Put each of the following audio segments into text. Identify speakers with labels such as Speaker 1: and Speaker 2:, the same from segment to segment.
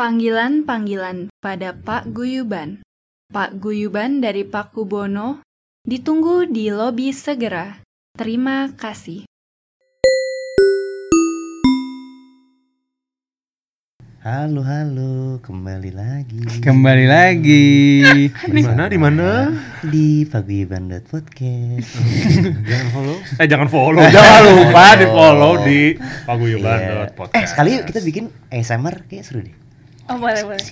Speaker 1: Panggilan-panggilan pada Pak Guyuban. Pak Guyuban dari Pak Kubono ditunggu di lobi segera. Terima kasih.
Speaker 2: Halo, halo, kembali lagi.
Speaker 3: Kembali lagi.
Speaker 4: Di mana? Di mana?
Speaker 2: Di Paguyuban Podcast.
Speaker 4: Jangan follow. Eh jangan follow. jangan
Speaker 2: Jangan
Speaker 4: lupa di follow
Speaker 2: follow.
Speaker 4: di Paguyuban
Speaker 2: Iya.
Speaker 4: podcast. Eh,
Speaker 2: Eh, sekali yuk kita bikin ASMR kayak seru deh.
Speaker 5: Oh boleh boleh.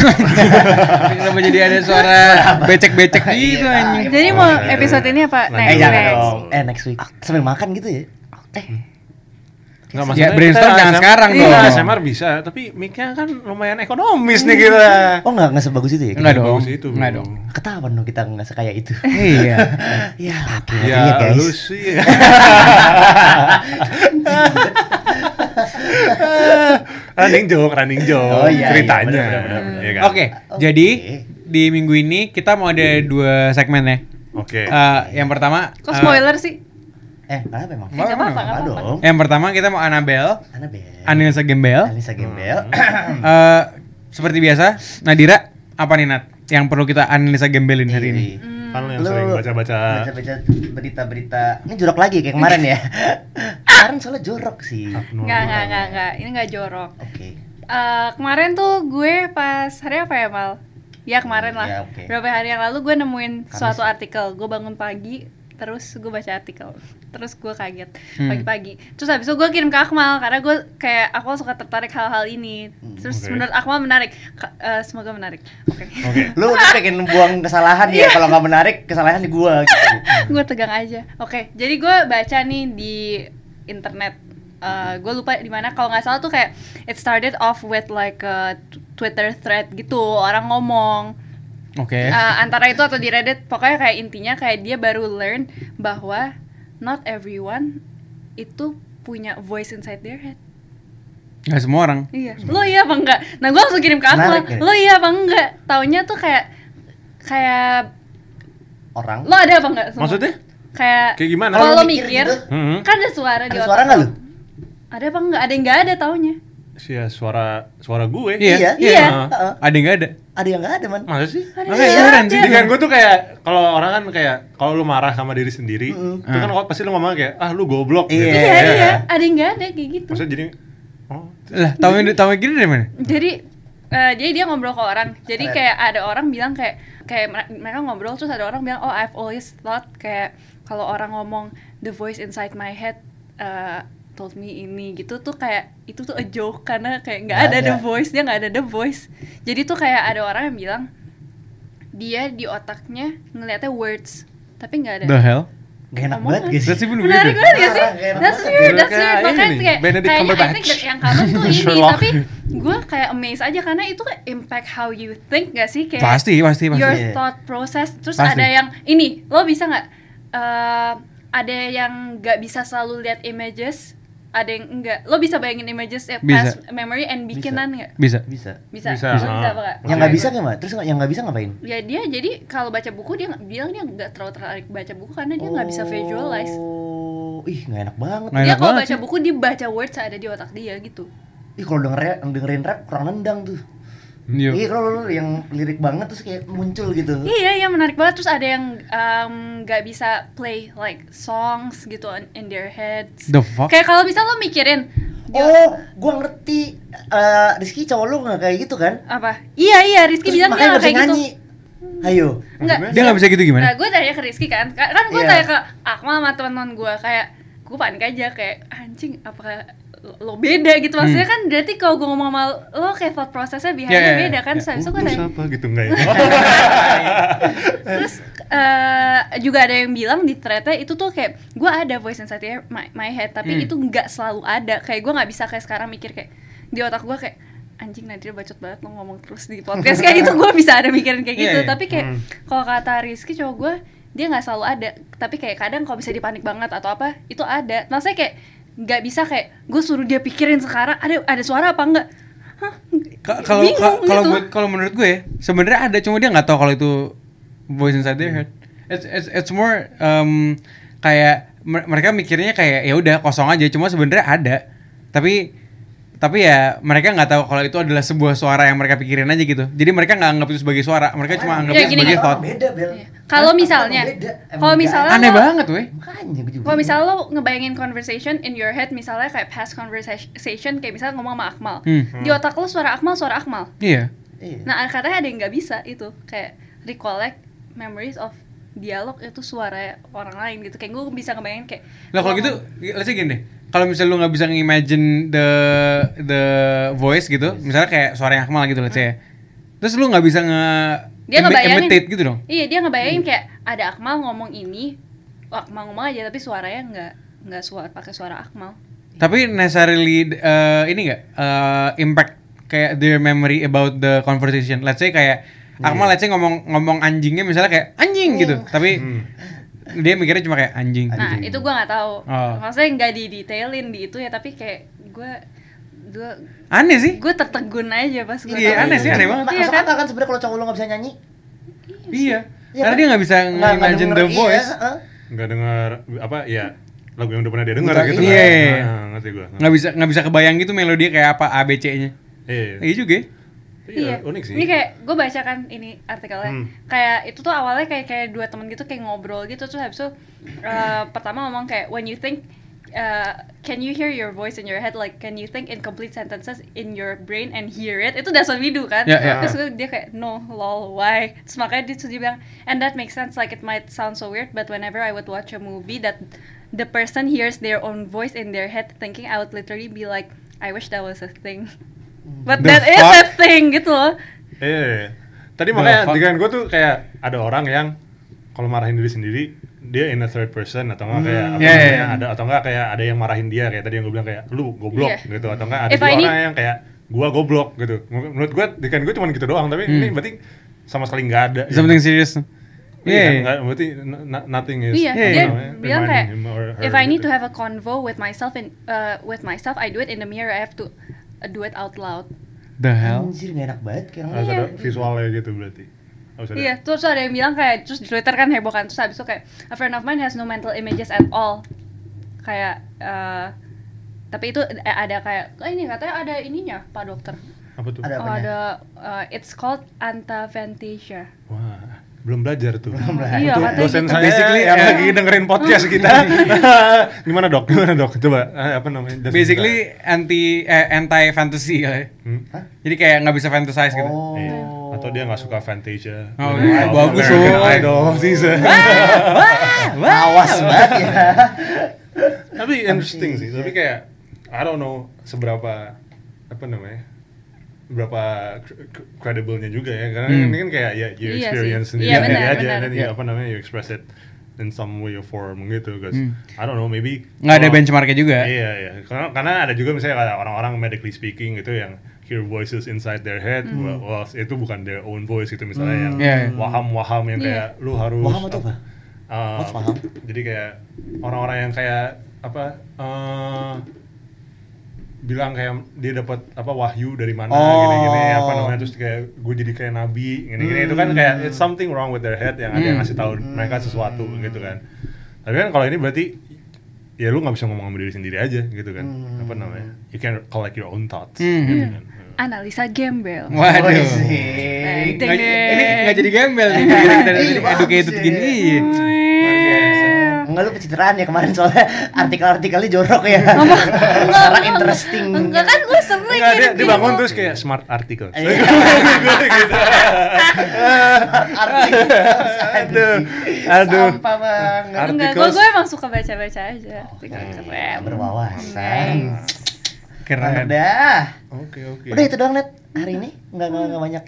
Speaker 3: Kenapa jadi ada suara becek-becek gitu anjing?
Speaker 5: Jadi mau episode ini apa?
Speaker 4: Lanjut.
Speaker 2: Eh,
Speaker 5: Next,
Speaker 2: jangan
Speaker 5: next.
Speaker 2: dong. Eh, next week. Sambil makan gitu ya.
Speaker 4: Nggak
Speaker 3: Ya, brainstorm jangan sekarang
Speaker 4: iya,
Speaker 3: dong.
Speaker 4: ASMR bisa, tapi mic-nya kan lumayan ekonomis nih kita.
Speaker 2: Oh, enggak enggak sebagus itu ya.
Speaker 3: Enggak dong.
Speaker 4: Bagus itu,
Speaker 3: Enggak
Speaker 4: Bro.
Speaker 3: dong.
Speaker 2: Ketahuan dong kita enggak sekaya itu.
Speaker 3: Iya.
Speaker 2: ya, apa
Speaker 4: Ya,
Speaker 2: guys.
Speaker 4: lu sih. running joke, running joke.
Speaker 2: Oh, iya, iya,
Speaker 4: ceritanya.
Speaker 2: benar, benar, benar,
Speaker 4: Iya kan?
Speaker 3: Oke, jadi di minggu ini kita mau ada dua segmen ya.
Speaker 4: Oke.
Speaker 3: Eh, yang pertama
Speaker 5: Kok
Speaker 3: eh,
Speaker 5: spoiler sih?
Speaker 2: Eh, kenapa emang?
Speaker 3: Nggak apa-apa,
Speaker 2: Kenapa
Speaker 5: nggak apa-apa.
Speaker 2: dong?
Speaker 3: Yang pertama kita mau Anabel,
Speaker 2: Anabel.
Speaker 3: Anilsa Gembel.
Speaker 2: Anissa Gembel.
Speaker 3: Eh, seperti biasa, Nadira, apa nih Nat? Yang perlu kita analisa gembelin hari ini.
Speaker 2: Iya.
Speaker 4: Kan lu yang sering baca-baca
Speaker 2: baca-baca berita-berita ini jorok lagi kayak kemarin ya kemarin soalnya jorok sih oke
Speaker 5: Enggak enggak enggak enggak. Ini enggak jorok. Eh, kemarin tuh gue pas hari apa ya Mal? Ya kemarin lah.
Speaker 2: Ya, oke.
Speaker 5: Beberapa hari yang lalu gue nemuin suatu artikel. Gue bangun pagi, terus gue baca artikel. Terus gue kaget pagi-pagi. Terus habis itu gue kirim ke Akmal karena gue kayak Akmal suka tertarik hal-hal ini. Terus
Speaker 4: Oke.
Speaker 5: menurut Akmal menarik. Ka- eh, semoga menarik. Oke.
Speaker 4: Oke.
Speaker 2: lu udah pengen buang kesalahan
Speaker 5: Iya.
Speaker 2: ya kalau nggak menarik kesalahan di gua gitu
Speaker 5: gue tegang aja oke jadi gue baca nih di internet gue lupa di mana kalau nggak salah tuh kayak it started off with like a t- Twitter thread gitu orang ngomong
Speaker 3: Oke.
Speaker 5: Eh, antara itu atau di Reddit pokoknya kayak intinya kayak dia baru learn bahwa not everyone itu punya voice inside their head
Speaker 3: Nggak semua orang.
Speaker 5: Iya. Lo iya apa enggak? Nah, gua langsung kirim ke aku.
Speaker 2: Menarik ya?
Speaker 5: Lo iya apa enggak? Taunya tuh kayak kayak
Speaker 2: orang
Speaker 5: lo ada apa enggak? semua?
Speaker 4: Maksudnya?
Speaker 5: Kayak
Speaker 4: Kayak gimana?
Speaker 5: Kalau
Speaker 2: Kalau
Speaker 5: lo
Speaker 2: mikir
Speaker 5: mikir,
Speaker 2: gitu.
Speaker 4: Mhm.
Speaker 5: kan ada suara di
Speaker 2: ada
Speaker 5: otak.
Speaker 2: suara nggak lu
Speaker 5: Ada apa enggak? Ada yang enggak ada taunya.
Speaker 4: Sia, suara suara gue.
Speaker 3: Iya.
Speaker 2: iya
Speaker 5: Iya.
Speaker 2: Heeh.
Speaker 3: Ada nggak ada?
Speaker 2: ada yang nggak ada man
Speaker 4: Masa sih?
Speaker 3: Makanya
Speaker 5: iya,
Speaker 3: heran
Speaker 5: ada.
Speaker 3: sih.
Speaker 4: Jadi kan gue tuh kayak kalau orang kan kayak kalau lu marah sama diri sendiri, itu kan kok pasti lu ngomong kayak ah lu goblok
Speaker 2: Iya.
Speaker 4: gitu.
Speaker 5: Iya,
Speaker 4: Ya.
Speaker 5: iya. Ada yang enggak ada kayak gitu.
Speaker 4: Maksudnya jadi oh
Speaker 3: Lah, tahu tahu gini dari mana?
Speaker 5: Jadi eh, jadi dia ngobrol ke orang. Jadi
Speaker 2: Keren.
Speaker 5: kayak ada orang bilang kayak kayak mer- mereka ngobrol terus ada orang bilang, "Oh, I've always thought kayak kalau orang ngomong the voice inside my head eh, told me ini gitu tuh kayak itu tuh a joke karena kayak nggak
Speaker 2: Nggak
Speaker 5: ada, the
Speaker 2: ada.
Speaker 5: voice, dia nggak ada the voice. Jadi tuh kayak ada orang yang bilang dia di otaknya ngelihatnya words tapi nggak ada.
Speaker 3: The hell?
Speaker 2: gak enak
Speaker 5: Omongan.
Speaker 2: banget gak sih
Speaker 3: That's even
Speaker 5: Menarik
Speaker 3: weirder.
Speaker 5: banget gak
Speaker 2: Gitu.
Speaker 5: sih?
Speaker 2: Parah, kayak
Speaker 5: That's
Speaker 2: enak
Speaker 5: weird, that's
Speaker 4: Kayak
Speaker 5: weird
Speaker 4: ini
Speaker 5: Makanya
Speaker 4: nih,
Speaker 5: kayak
Speaker 3: Benedict
Speaker 5: kayaknya I think
Speaker 3: Cumberbatch.
Speaker 5: that yang cover tuh ini
Speaker 4: Sherlock.
Speaker 5: Tapi gue kayak amazed aja karena itu kayak impact how you think gak sih? Kayak
Speaker 3: Pasti, pasti, pasti.
Speaker 5: your
Speaker 2: Iya.
Speaker 5: thought process Terus
Speaker 3: Pasti.
Speaker 5: ada yang, ini lo bisa gak? eh, ada yang gak bisa selalu lihat images Ada yang enggak Lo bisa bayangin images ya,
Speaker 3: Bisa.
Speaker 5: past memory and bikinan gak?
Speaker 3: Bisa.
Speaker 2: bisa
Speaker 5: Bisa,
Speaker 4: Bisa,
Speaker 5: Lo
Speaker 4: ah.
Speaker 5: apa nggak?
Speaker 2: yang nggak bisa nggak man terus nggak- yang nggak bisa ngapain
Speaker 5: Ya dia jadi kalau baca buku dia nggak- bilang dia nggak terlalu tertarik baca buku karena dia nggak bisa visualize
Speaker 2: Oh, ih nggak enak banget
Speaker 3: Nggak
Speaker 5: dia
Speaker 3: enak
Speaker 5: kalau
Speaker 3: banget ya.
Speaker 5: baca
Speaker 3: sih.
Speaker 5: buku dia baca words ada di otak dia gitu
Speaker 2: ih kalau dengerin dengerin rap kurang nendang tuh
Speaker 3: Iya.
Speaker 2: Iya kalau lu yang lirik banget terus kayak muncul gitu
Speaker 5: iya iya menarik banget terus ada yang em, nggak bisa play like songs gitu on- in their heads
Speaker 3: The fuck?
Speaker 5: kayak kalau bisa lo mikirin dia-
Speaker 2: Oh, gua ngerti. Eh, Rizky cowok lu nggak kayak gitu kan?
Speaker 5: apa iya iya Rizky
Speaker 2: Terus
Speaker 5: bilang
Speaker 2: makanya
Speaker 5: dia
Speaker 2: nggak
Speaker 5: nggak
Speaker 2: bisa
Speaker 5: kayak gitu
Speaker 2: nyanyi. Ayo.
Speaker 5: Nggak.
Speaker 3: Dia nggak bisa gitu
Speaker 5: Nah,
Speaker 3: gimana?
Speaker 5: gue tanya ke Rizky kan, Ka- kan gue
Speaker 2: Iya.
Speaker 5: tanya ke Akmal sama teman-teman gue kayak gue panik aja kayak anjing apakah lo- lo beda gitu maksudnya kan berarti kalau gue ngomong sama lo kayak thought prosesnya
Speaker 3: Hmm.
Speaker 5: behind
Speaker 3: Iya, iya,
Speaker 5: beda
Speaker 3: iya.
Speaker 5: kan yeah.
Speaker 4: terus
Speaker 5: itu gue nanya
Speaker 4: apa gitu enggak ya?
Speaker 5: terus eh, juga ada yang bilang di threadnya itu tuh kayak gue ada voice inside here, my, my head tapi
Speaker 3: Hmm.
Speaker 5: itu nggak selalu ada kayak gue nggak bisa kayak sekarang mikir kayak di otak gue kayak anjing Nadira bacot banget lo ngomong terus di podcast kayak itu gue bisa ada mikirin kayak
Speaker 3: Iya,
Speaker 5: gitu
Speaker 3: iya.
Speaker 5: tapi kayak kalau kata Rizky cowok gue dia nggak selalu ada tapi kayak kadang kalau bisa dipanik banget atau apa itu ada maksudnya kayak nggak bisa kayak gue suruh dia pikirin sekarang ada ada suara apa enggak Hah?
Speaker 3: Ka- Kalau
Speaker 5: Bingung
Speaker 3: ka- kalau
Speaker 5: gitu.
Speaker 3: gue- kalau menurut gue ya, sebenarnya ada cuma dia nggak tahu kalau itu voice inside their head. It's it's, it's more um, kayak mer- mereka mikirnya kayak ya udah kosong aja cuma sebenarnya ada tapi tapi ya mereka nggak tahu kalau itu adalah sebuah suara yang mereka pikirin aja gitu jadi mereka nggak anggap itu sebagai suara mereka cuma anggap
Speaker 5: Ya,
Speaker 3: itu
Speaker 5: gini,
Speaker 3: sebagai
Speaker 5: gini.
Speaker 3: thought
Speaker 2: Beda, Bel.
Speaker 5: Iya. Kalau
Speaker 2: Emang
Speaker 5: misalnya-
Speaker 2: beda? Emang
Speaker 5: kalau
Speaker 2: nggak
Speaker 5: misalnya-
Speaker 2: ada?
Speaker 3: aneh
Speaker 5: lo-
Speaker 3: banget weh
Speaker 2: Makanya gitu. gue juga
Speaker 3: Mm-hmm.
Speaker 5: Kalau misalnya lo ngebayangin conversation in your head, misalnya kayak past conversation, kayak misalnya ngomong sama Akmal,
Speaker 3: Hmm.
Speaker 5: di otak lo suara Akmal, suara Akmal.
Speaker 3: iya
Speaker 2: Iya.
Speaker 5: Nah katanya ada yang nggak bisa itu, kayak recollect memories of dialog itu suara orang lain gitu. Kayak gue bisa ngebayangin kayak.
Speaker 3: lah kalau
Speaker 5: lo
Speaker 3: gitu let's say gini deh kalau misalnya lu nggak bisa nge-imagine the the voice gitu misalnya kayak suaranya Akmal gitu let's say ya. terus lu nggak bisa nge
Speaker 5: Dia
Speaker 3: imi-
Speaker 5: ngebayangin.
Speaker 3: imitate gitu dong
Speaker 5: Iya dia ngebayangin kayak ada Akmal ngomong ini, Akmal ngomong aja tapi suaranya nggak nggak suara pakai suara Akmal.
Speaker 3: Tapi necessarily uh, ini enggak impact kayak their memory about the conversation. Let's say kayak Akmal let's say ngomong ngomong anjingnya misalnya kayak anjing gitu. Tapi dia mikirnya cuma kayak anjing.
Speaker 5: Nah itu gue nggak tahu.
Speaker 3: Oh.
Speaker 5: Maksudnya nggak di detailin di itu ya tapi kayak gue gue
Speaker 3: Aneh sih.
Speaker 5: gue tertegun aja pas gue
Speaker 3: Iya,
Speaker 5: tahu
Speaker 3: aneh
Speaker 5: itu.
Speaker 3: sih, aneh banget.
Speaker 5: Iya
Speaker 2: Masuk
Speaker 5: kan?
Speaker 2: akal kan sebenarnya kalau cowok lo nggak bisa nyanyi,
Speaker 3: Iya.
Speaker 2: Iya,
Speaker 3: Karena
Speaker 2: kan?
Speaker 3: dia nggak bisa
Speaker 2: nggak- nggak
Speaker 3: imagine the
Speaker 2: denger,
Speaker 3: voice.
Speaker 2: Iya, heeh.
Speaker 4: nggak dengar apa ya lagu yang udah pernah dia dengar
Speaker 3: Betul,
Speaker 4: gitu
Speaker 3: iya.
Speaker 4: kan. Nah, ngerti gua.
Speaker 3: Nggak bisa nggak bisa kebayang gitu melodi kayak apa ABC-nya.
Speaker 4: Iya.
Speaker 3: Iya juga. ya.
Speaker 4: Iya, unik sih.
Speaker 5: Ini kayak gue baca kan ini artikelnya.
Speaker 4: Hmm.
Speaker 5: Kayak itu tuh awalnya kayak kayak dua temen gitu kayak ngobrol gitu terus habis itu eh, pertama ngomong kayak when you think eh, can you hear your voice in your head like can you think in complete sentences in your brain and hear it itu that's what we do kan
Speaker 3: Ya, ya.
Speaker 5: terus gue- dia kayak no lol why terus makanya dia terus dia bilang and that makes sense like it might sound so weird but whenever I would watch a movie that the person hears their own voice in their head thinking I would literally be like I wish that was a thing but
Speaker 3: The
Speaker 5: that is a
Speaker 3: fuck?
Speaker 5: thing gitu loh
Speaker 4: Iya. iya. Tadi
Speaker 3: The
Speaker 4: makanya
Speaker 3: fuck?
Speaker 4: pikiran gue tuh kayak ada orang yang kalau marahin diri sendiri dia in a third person atau enggak kayak apa
Speaker 3: Iya, iya,
Speaker 4: namanya,
Speaker 3: iya.
Speaker 4: ada atau enggak kayak ada yang marahin dia kayak tadi yang gue bilang kayak lu goblok
Speaker 5: Iya.
Speaker 4: gitu atau enggak ada
Speaker 5: If
Speaker 4: dua
Speaker 5: I need-
Speaker 4: orang yang kayak gua goblok gitu. Menur- Menurut gue pikiran gue cuma gitu doang tapi ini berarti sama sekali nggak ada. gitu.
Speaker 3: Hmm. Something serious.
Speaker 4: Iya, kan?
Speaker 3: Iya.
Speaker 4: Nggak- berarti n- n- nothing is.
Speaker 5: Iya,
Speaker 3: Yeah.
Speaker 5: dia
Speaker 4: apa namanya,
Speaker 5: bilang
Speaker 4: reminding
Speaker 5: kayak
Speaker 4: him or her
Speaker 5: if I need
Speaker 4: gitu.
Speaker 5: to have a convo with myself in uh, with myself, I do it in the mirror. I have to uh, do it out loud.
Speaker 3: The hell.
Speaker 2: Anjir gak enak banget Iya. kayak orang.
Speaker 4: harus ada visualnya gitu berarti. Harus ada.
Speaker 5: Iya, terus ada yang bilang kayak terus di Twitter kan heboh kan terus habis itu kayak a friend of mine has no mental images at all. Kayak uh, tapi itu a- ada kayak oh ini katanya ada ininya Pak Dokter.
Speaker 4: Apa tuh?
Speaker 2: Ada-
Speaker 5: Oh,
Speaker 2: Apanya?
Speaker 5: ada uh, it's called antafantasia.
Speaker 4: Wah, belum belajar tuh.
Speaker 2: Belum belajar.
Speaker 5: Iya,
Speaker 4: Itu
Speaker 5: katanya
Speaker 4: dosen
Speaker 5: gitu.
Speaker 4: saya
Speaker 3: Basically,
Speaker 4: yang
Speaker 3: eh,
Speaker 4: lagi dengerin podcast kita. Gimana dok? Gimana dok? Coba eh, apa namanya? Dosen kita.
Speaker 3: Basically anti eh, anti fantasy kali. ya.
Speaker 4: Hmm?
Speaker 3: Jadi kayak nggak bisa fantasize gitu.
Speaker 2: Oh.
Speaker 4: Iya. Atau dia nggak suka Fantasia.
Speaker 3: Oh,
Speaker 4: Dia
Speaker 3: iya.
Speaker 4: nggak
Speaker 3: Bagus,
Speaker 4: suka American
Speaker 3: Soy.
Speaker 4: Idol season.
Speaker 2: Awas
Speaker 3: Iya.
Speaker 2: banget ya.
Speaker 4: tapi interesting sih. Tapi kayak I don't know seberapa apa namanya berapa cre- cre- credible-nya juga ya karena
Speaker 3: Hmm.
Speaker 4: ini kan kayak ya you
Speaker 5: Iya sih.
Speaker 4: experience sendiri
Speaker 5: Iya,
Speaker 4: sendiri
Speaker 5: benar,
Speaker 4: aja
Speaker 5: benar.
Speaker 4: and then you,
Speaker 3: Iya.
Speaker 4: apa namanya you express it in some way or form gitu guys
Speaker 3: Hmm.
Speaker 4: I don't know maybe
Speaker 3: Nggak ada
Speaker 4: kalau-
Speaker 3: benchmarknya juga.
Speaker 4: Iya, iya. Karena, karena ada juga misalnya ada orang-orang medically speaking gitu yang hear voices inside their head, well, well, itu bukan their own voice gitu misalnya yang
Speaker 3: Hmm. Iya, iya.
Speaker 4: waham-waham yang kayak lu harus
Speaker 2: Waham itu apa?
Speaker 4: Uh,
Speaker 2: What's waham?
Speaker 4: Jadi kayak orang-orang yang kayak apa eh, bilang kayak dia dapat apa wahyu dari mana
Speaker 2: Oh.
Speaker 4: gini-gini apa namanya terus kayak gue jadi kayak nabi gini-gini itu kan kayak it's something wrong with their head yang ada yang
Speaker 3: Hmm.
Speaker 4: ngasih tahu mereka sesuatu gitu kan. Tapi kan kalau ini berarti ya lu nggak bisa ngomong sama diri sendiri aja gitu kan
Speaker 2: Hmm.
Speaker 4: apa namanya you can collect your own thoughts
Speaker 3: Hmm.
Speaker 4: gitu kan
Speaker 5: Analisa gembel.
Speaker 3: Waduh.
Speaker 4: Iya.
Speaker 2: Wih, sih.
Speaker 5: Nah, itu
Speaker 3: Nggak-
Speaker 5: deh.
Speaker 3: ini nggak jadi gembel nih gara-gara kita
Speaker 2: Iya, bagus
Speaker 3: educated
Speaker 2: ya.
Speaker 3: gini. iya.
Speaker 2: Enggak lu pencitraan ya kemarin soalnya artikel-artikelnya jorok ya. Sekarang interesting.
Speaker 5: Enggak kan gue sering
Speaker 4: Hmm. Enggak, dia,
Speaker 5: ngirim
Speaker 4: dia bangun
Speaker 5: gitu.
Speaker 4: terus kayak smart gitu. article
Speaker 2: Iya. Artikel.
Speaker 4: aduh aduh
Speaker 2: Sampah banget.
Speaker 4: Ar-
Speaker 5: Enggak, gue
Speaker 4: Articles.
Speaker 5: gue emang suka baca-baca aja.
Speaker 2: Eh,
Speaker 5: Keren.
Speaker 2: Berwawasan.
Speaker 5: Nice.
Speaker 3: Keren.
Speaker 2: Udah.
Speaker 4: oke oke
Speaker 2: Udah itu doang net hari ini nggak nggak nggak banyak.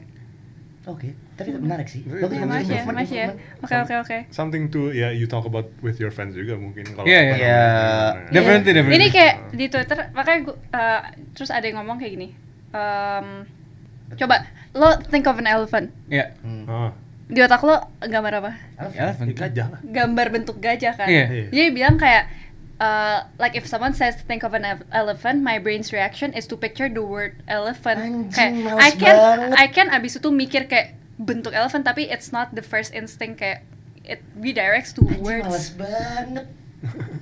Speaker 2: Oke, tapi menarik sih.
Speaker 4: Iya,
Speaker 2: Bagus
Speaker 4: iya,
Speaker 2: bagus,
Speaker 5: Masih ya,
Speaker 2: improvement,
Speaker 5: masih ya.
Speaker 2: improvement.
Speaker 5: Oke, oke, oke.
Speaker 4: something to ya you talk about with your friends juga mungkin kalau
Speaker 3: Iya, iya.
Speaker 4: apa
Speaker 2: Iya.
Speaker 4: namanya.
Speaker 3: Iya. Definitely,
Speaker 5: Iya.
Speaker 3: definitely.
Speaker 5: Ini kayak di Twitter, makanya gua, eh, terus ada yang ngomong kayak gini. Em, coba lo think of an elephant.
Speaker 3: Iya.
Speaker 2: Hmm.
Speaker 4: Ah,
Speaker 5: Di otak lo gambar apa?
Speaker 3: Elephant.
Speaker 4: itu ya, aja lah
Speaker 5: Gambar bentuk gajah kan.
Speaker 3: Iya.
Speaker 4: Iya.
Speaker 5: Jadi bilang kayak eh, like if someone says think of an ev- elephant, my brain's reaction is to picture the word elephant.
Speaker 2: Anjing,
Speaker 5: kayak
Speaker 2: males
Speaker 5: I can
Speaker 2: banget.
Speaker 5: I can abis itu mikir kayak bentuk elephant tapi it's not the first instinct kayak it redirects to
Speaker 2: Anjing,
Speaker 5: words.
Speaker 2: Males banget.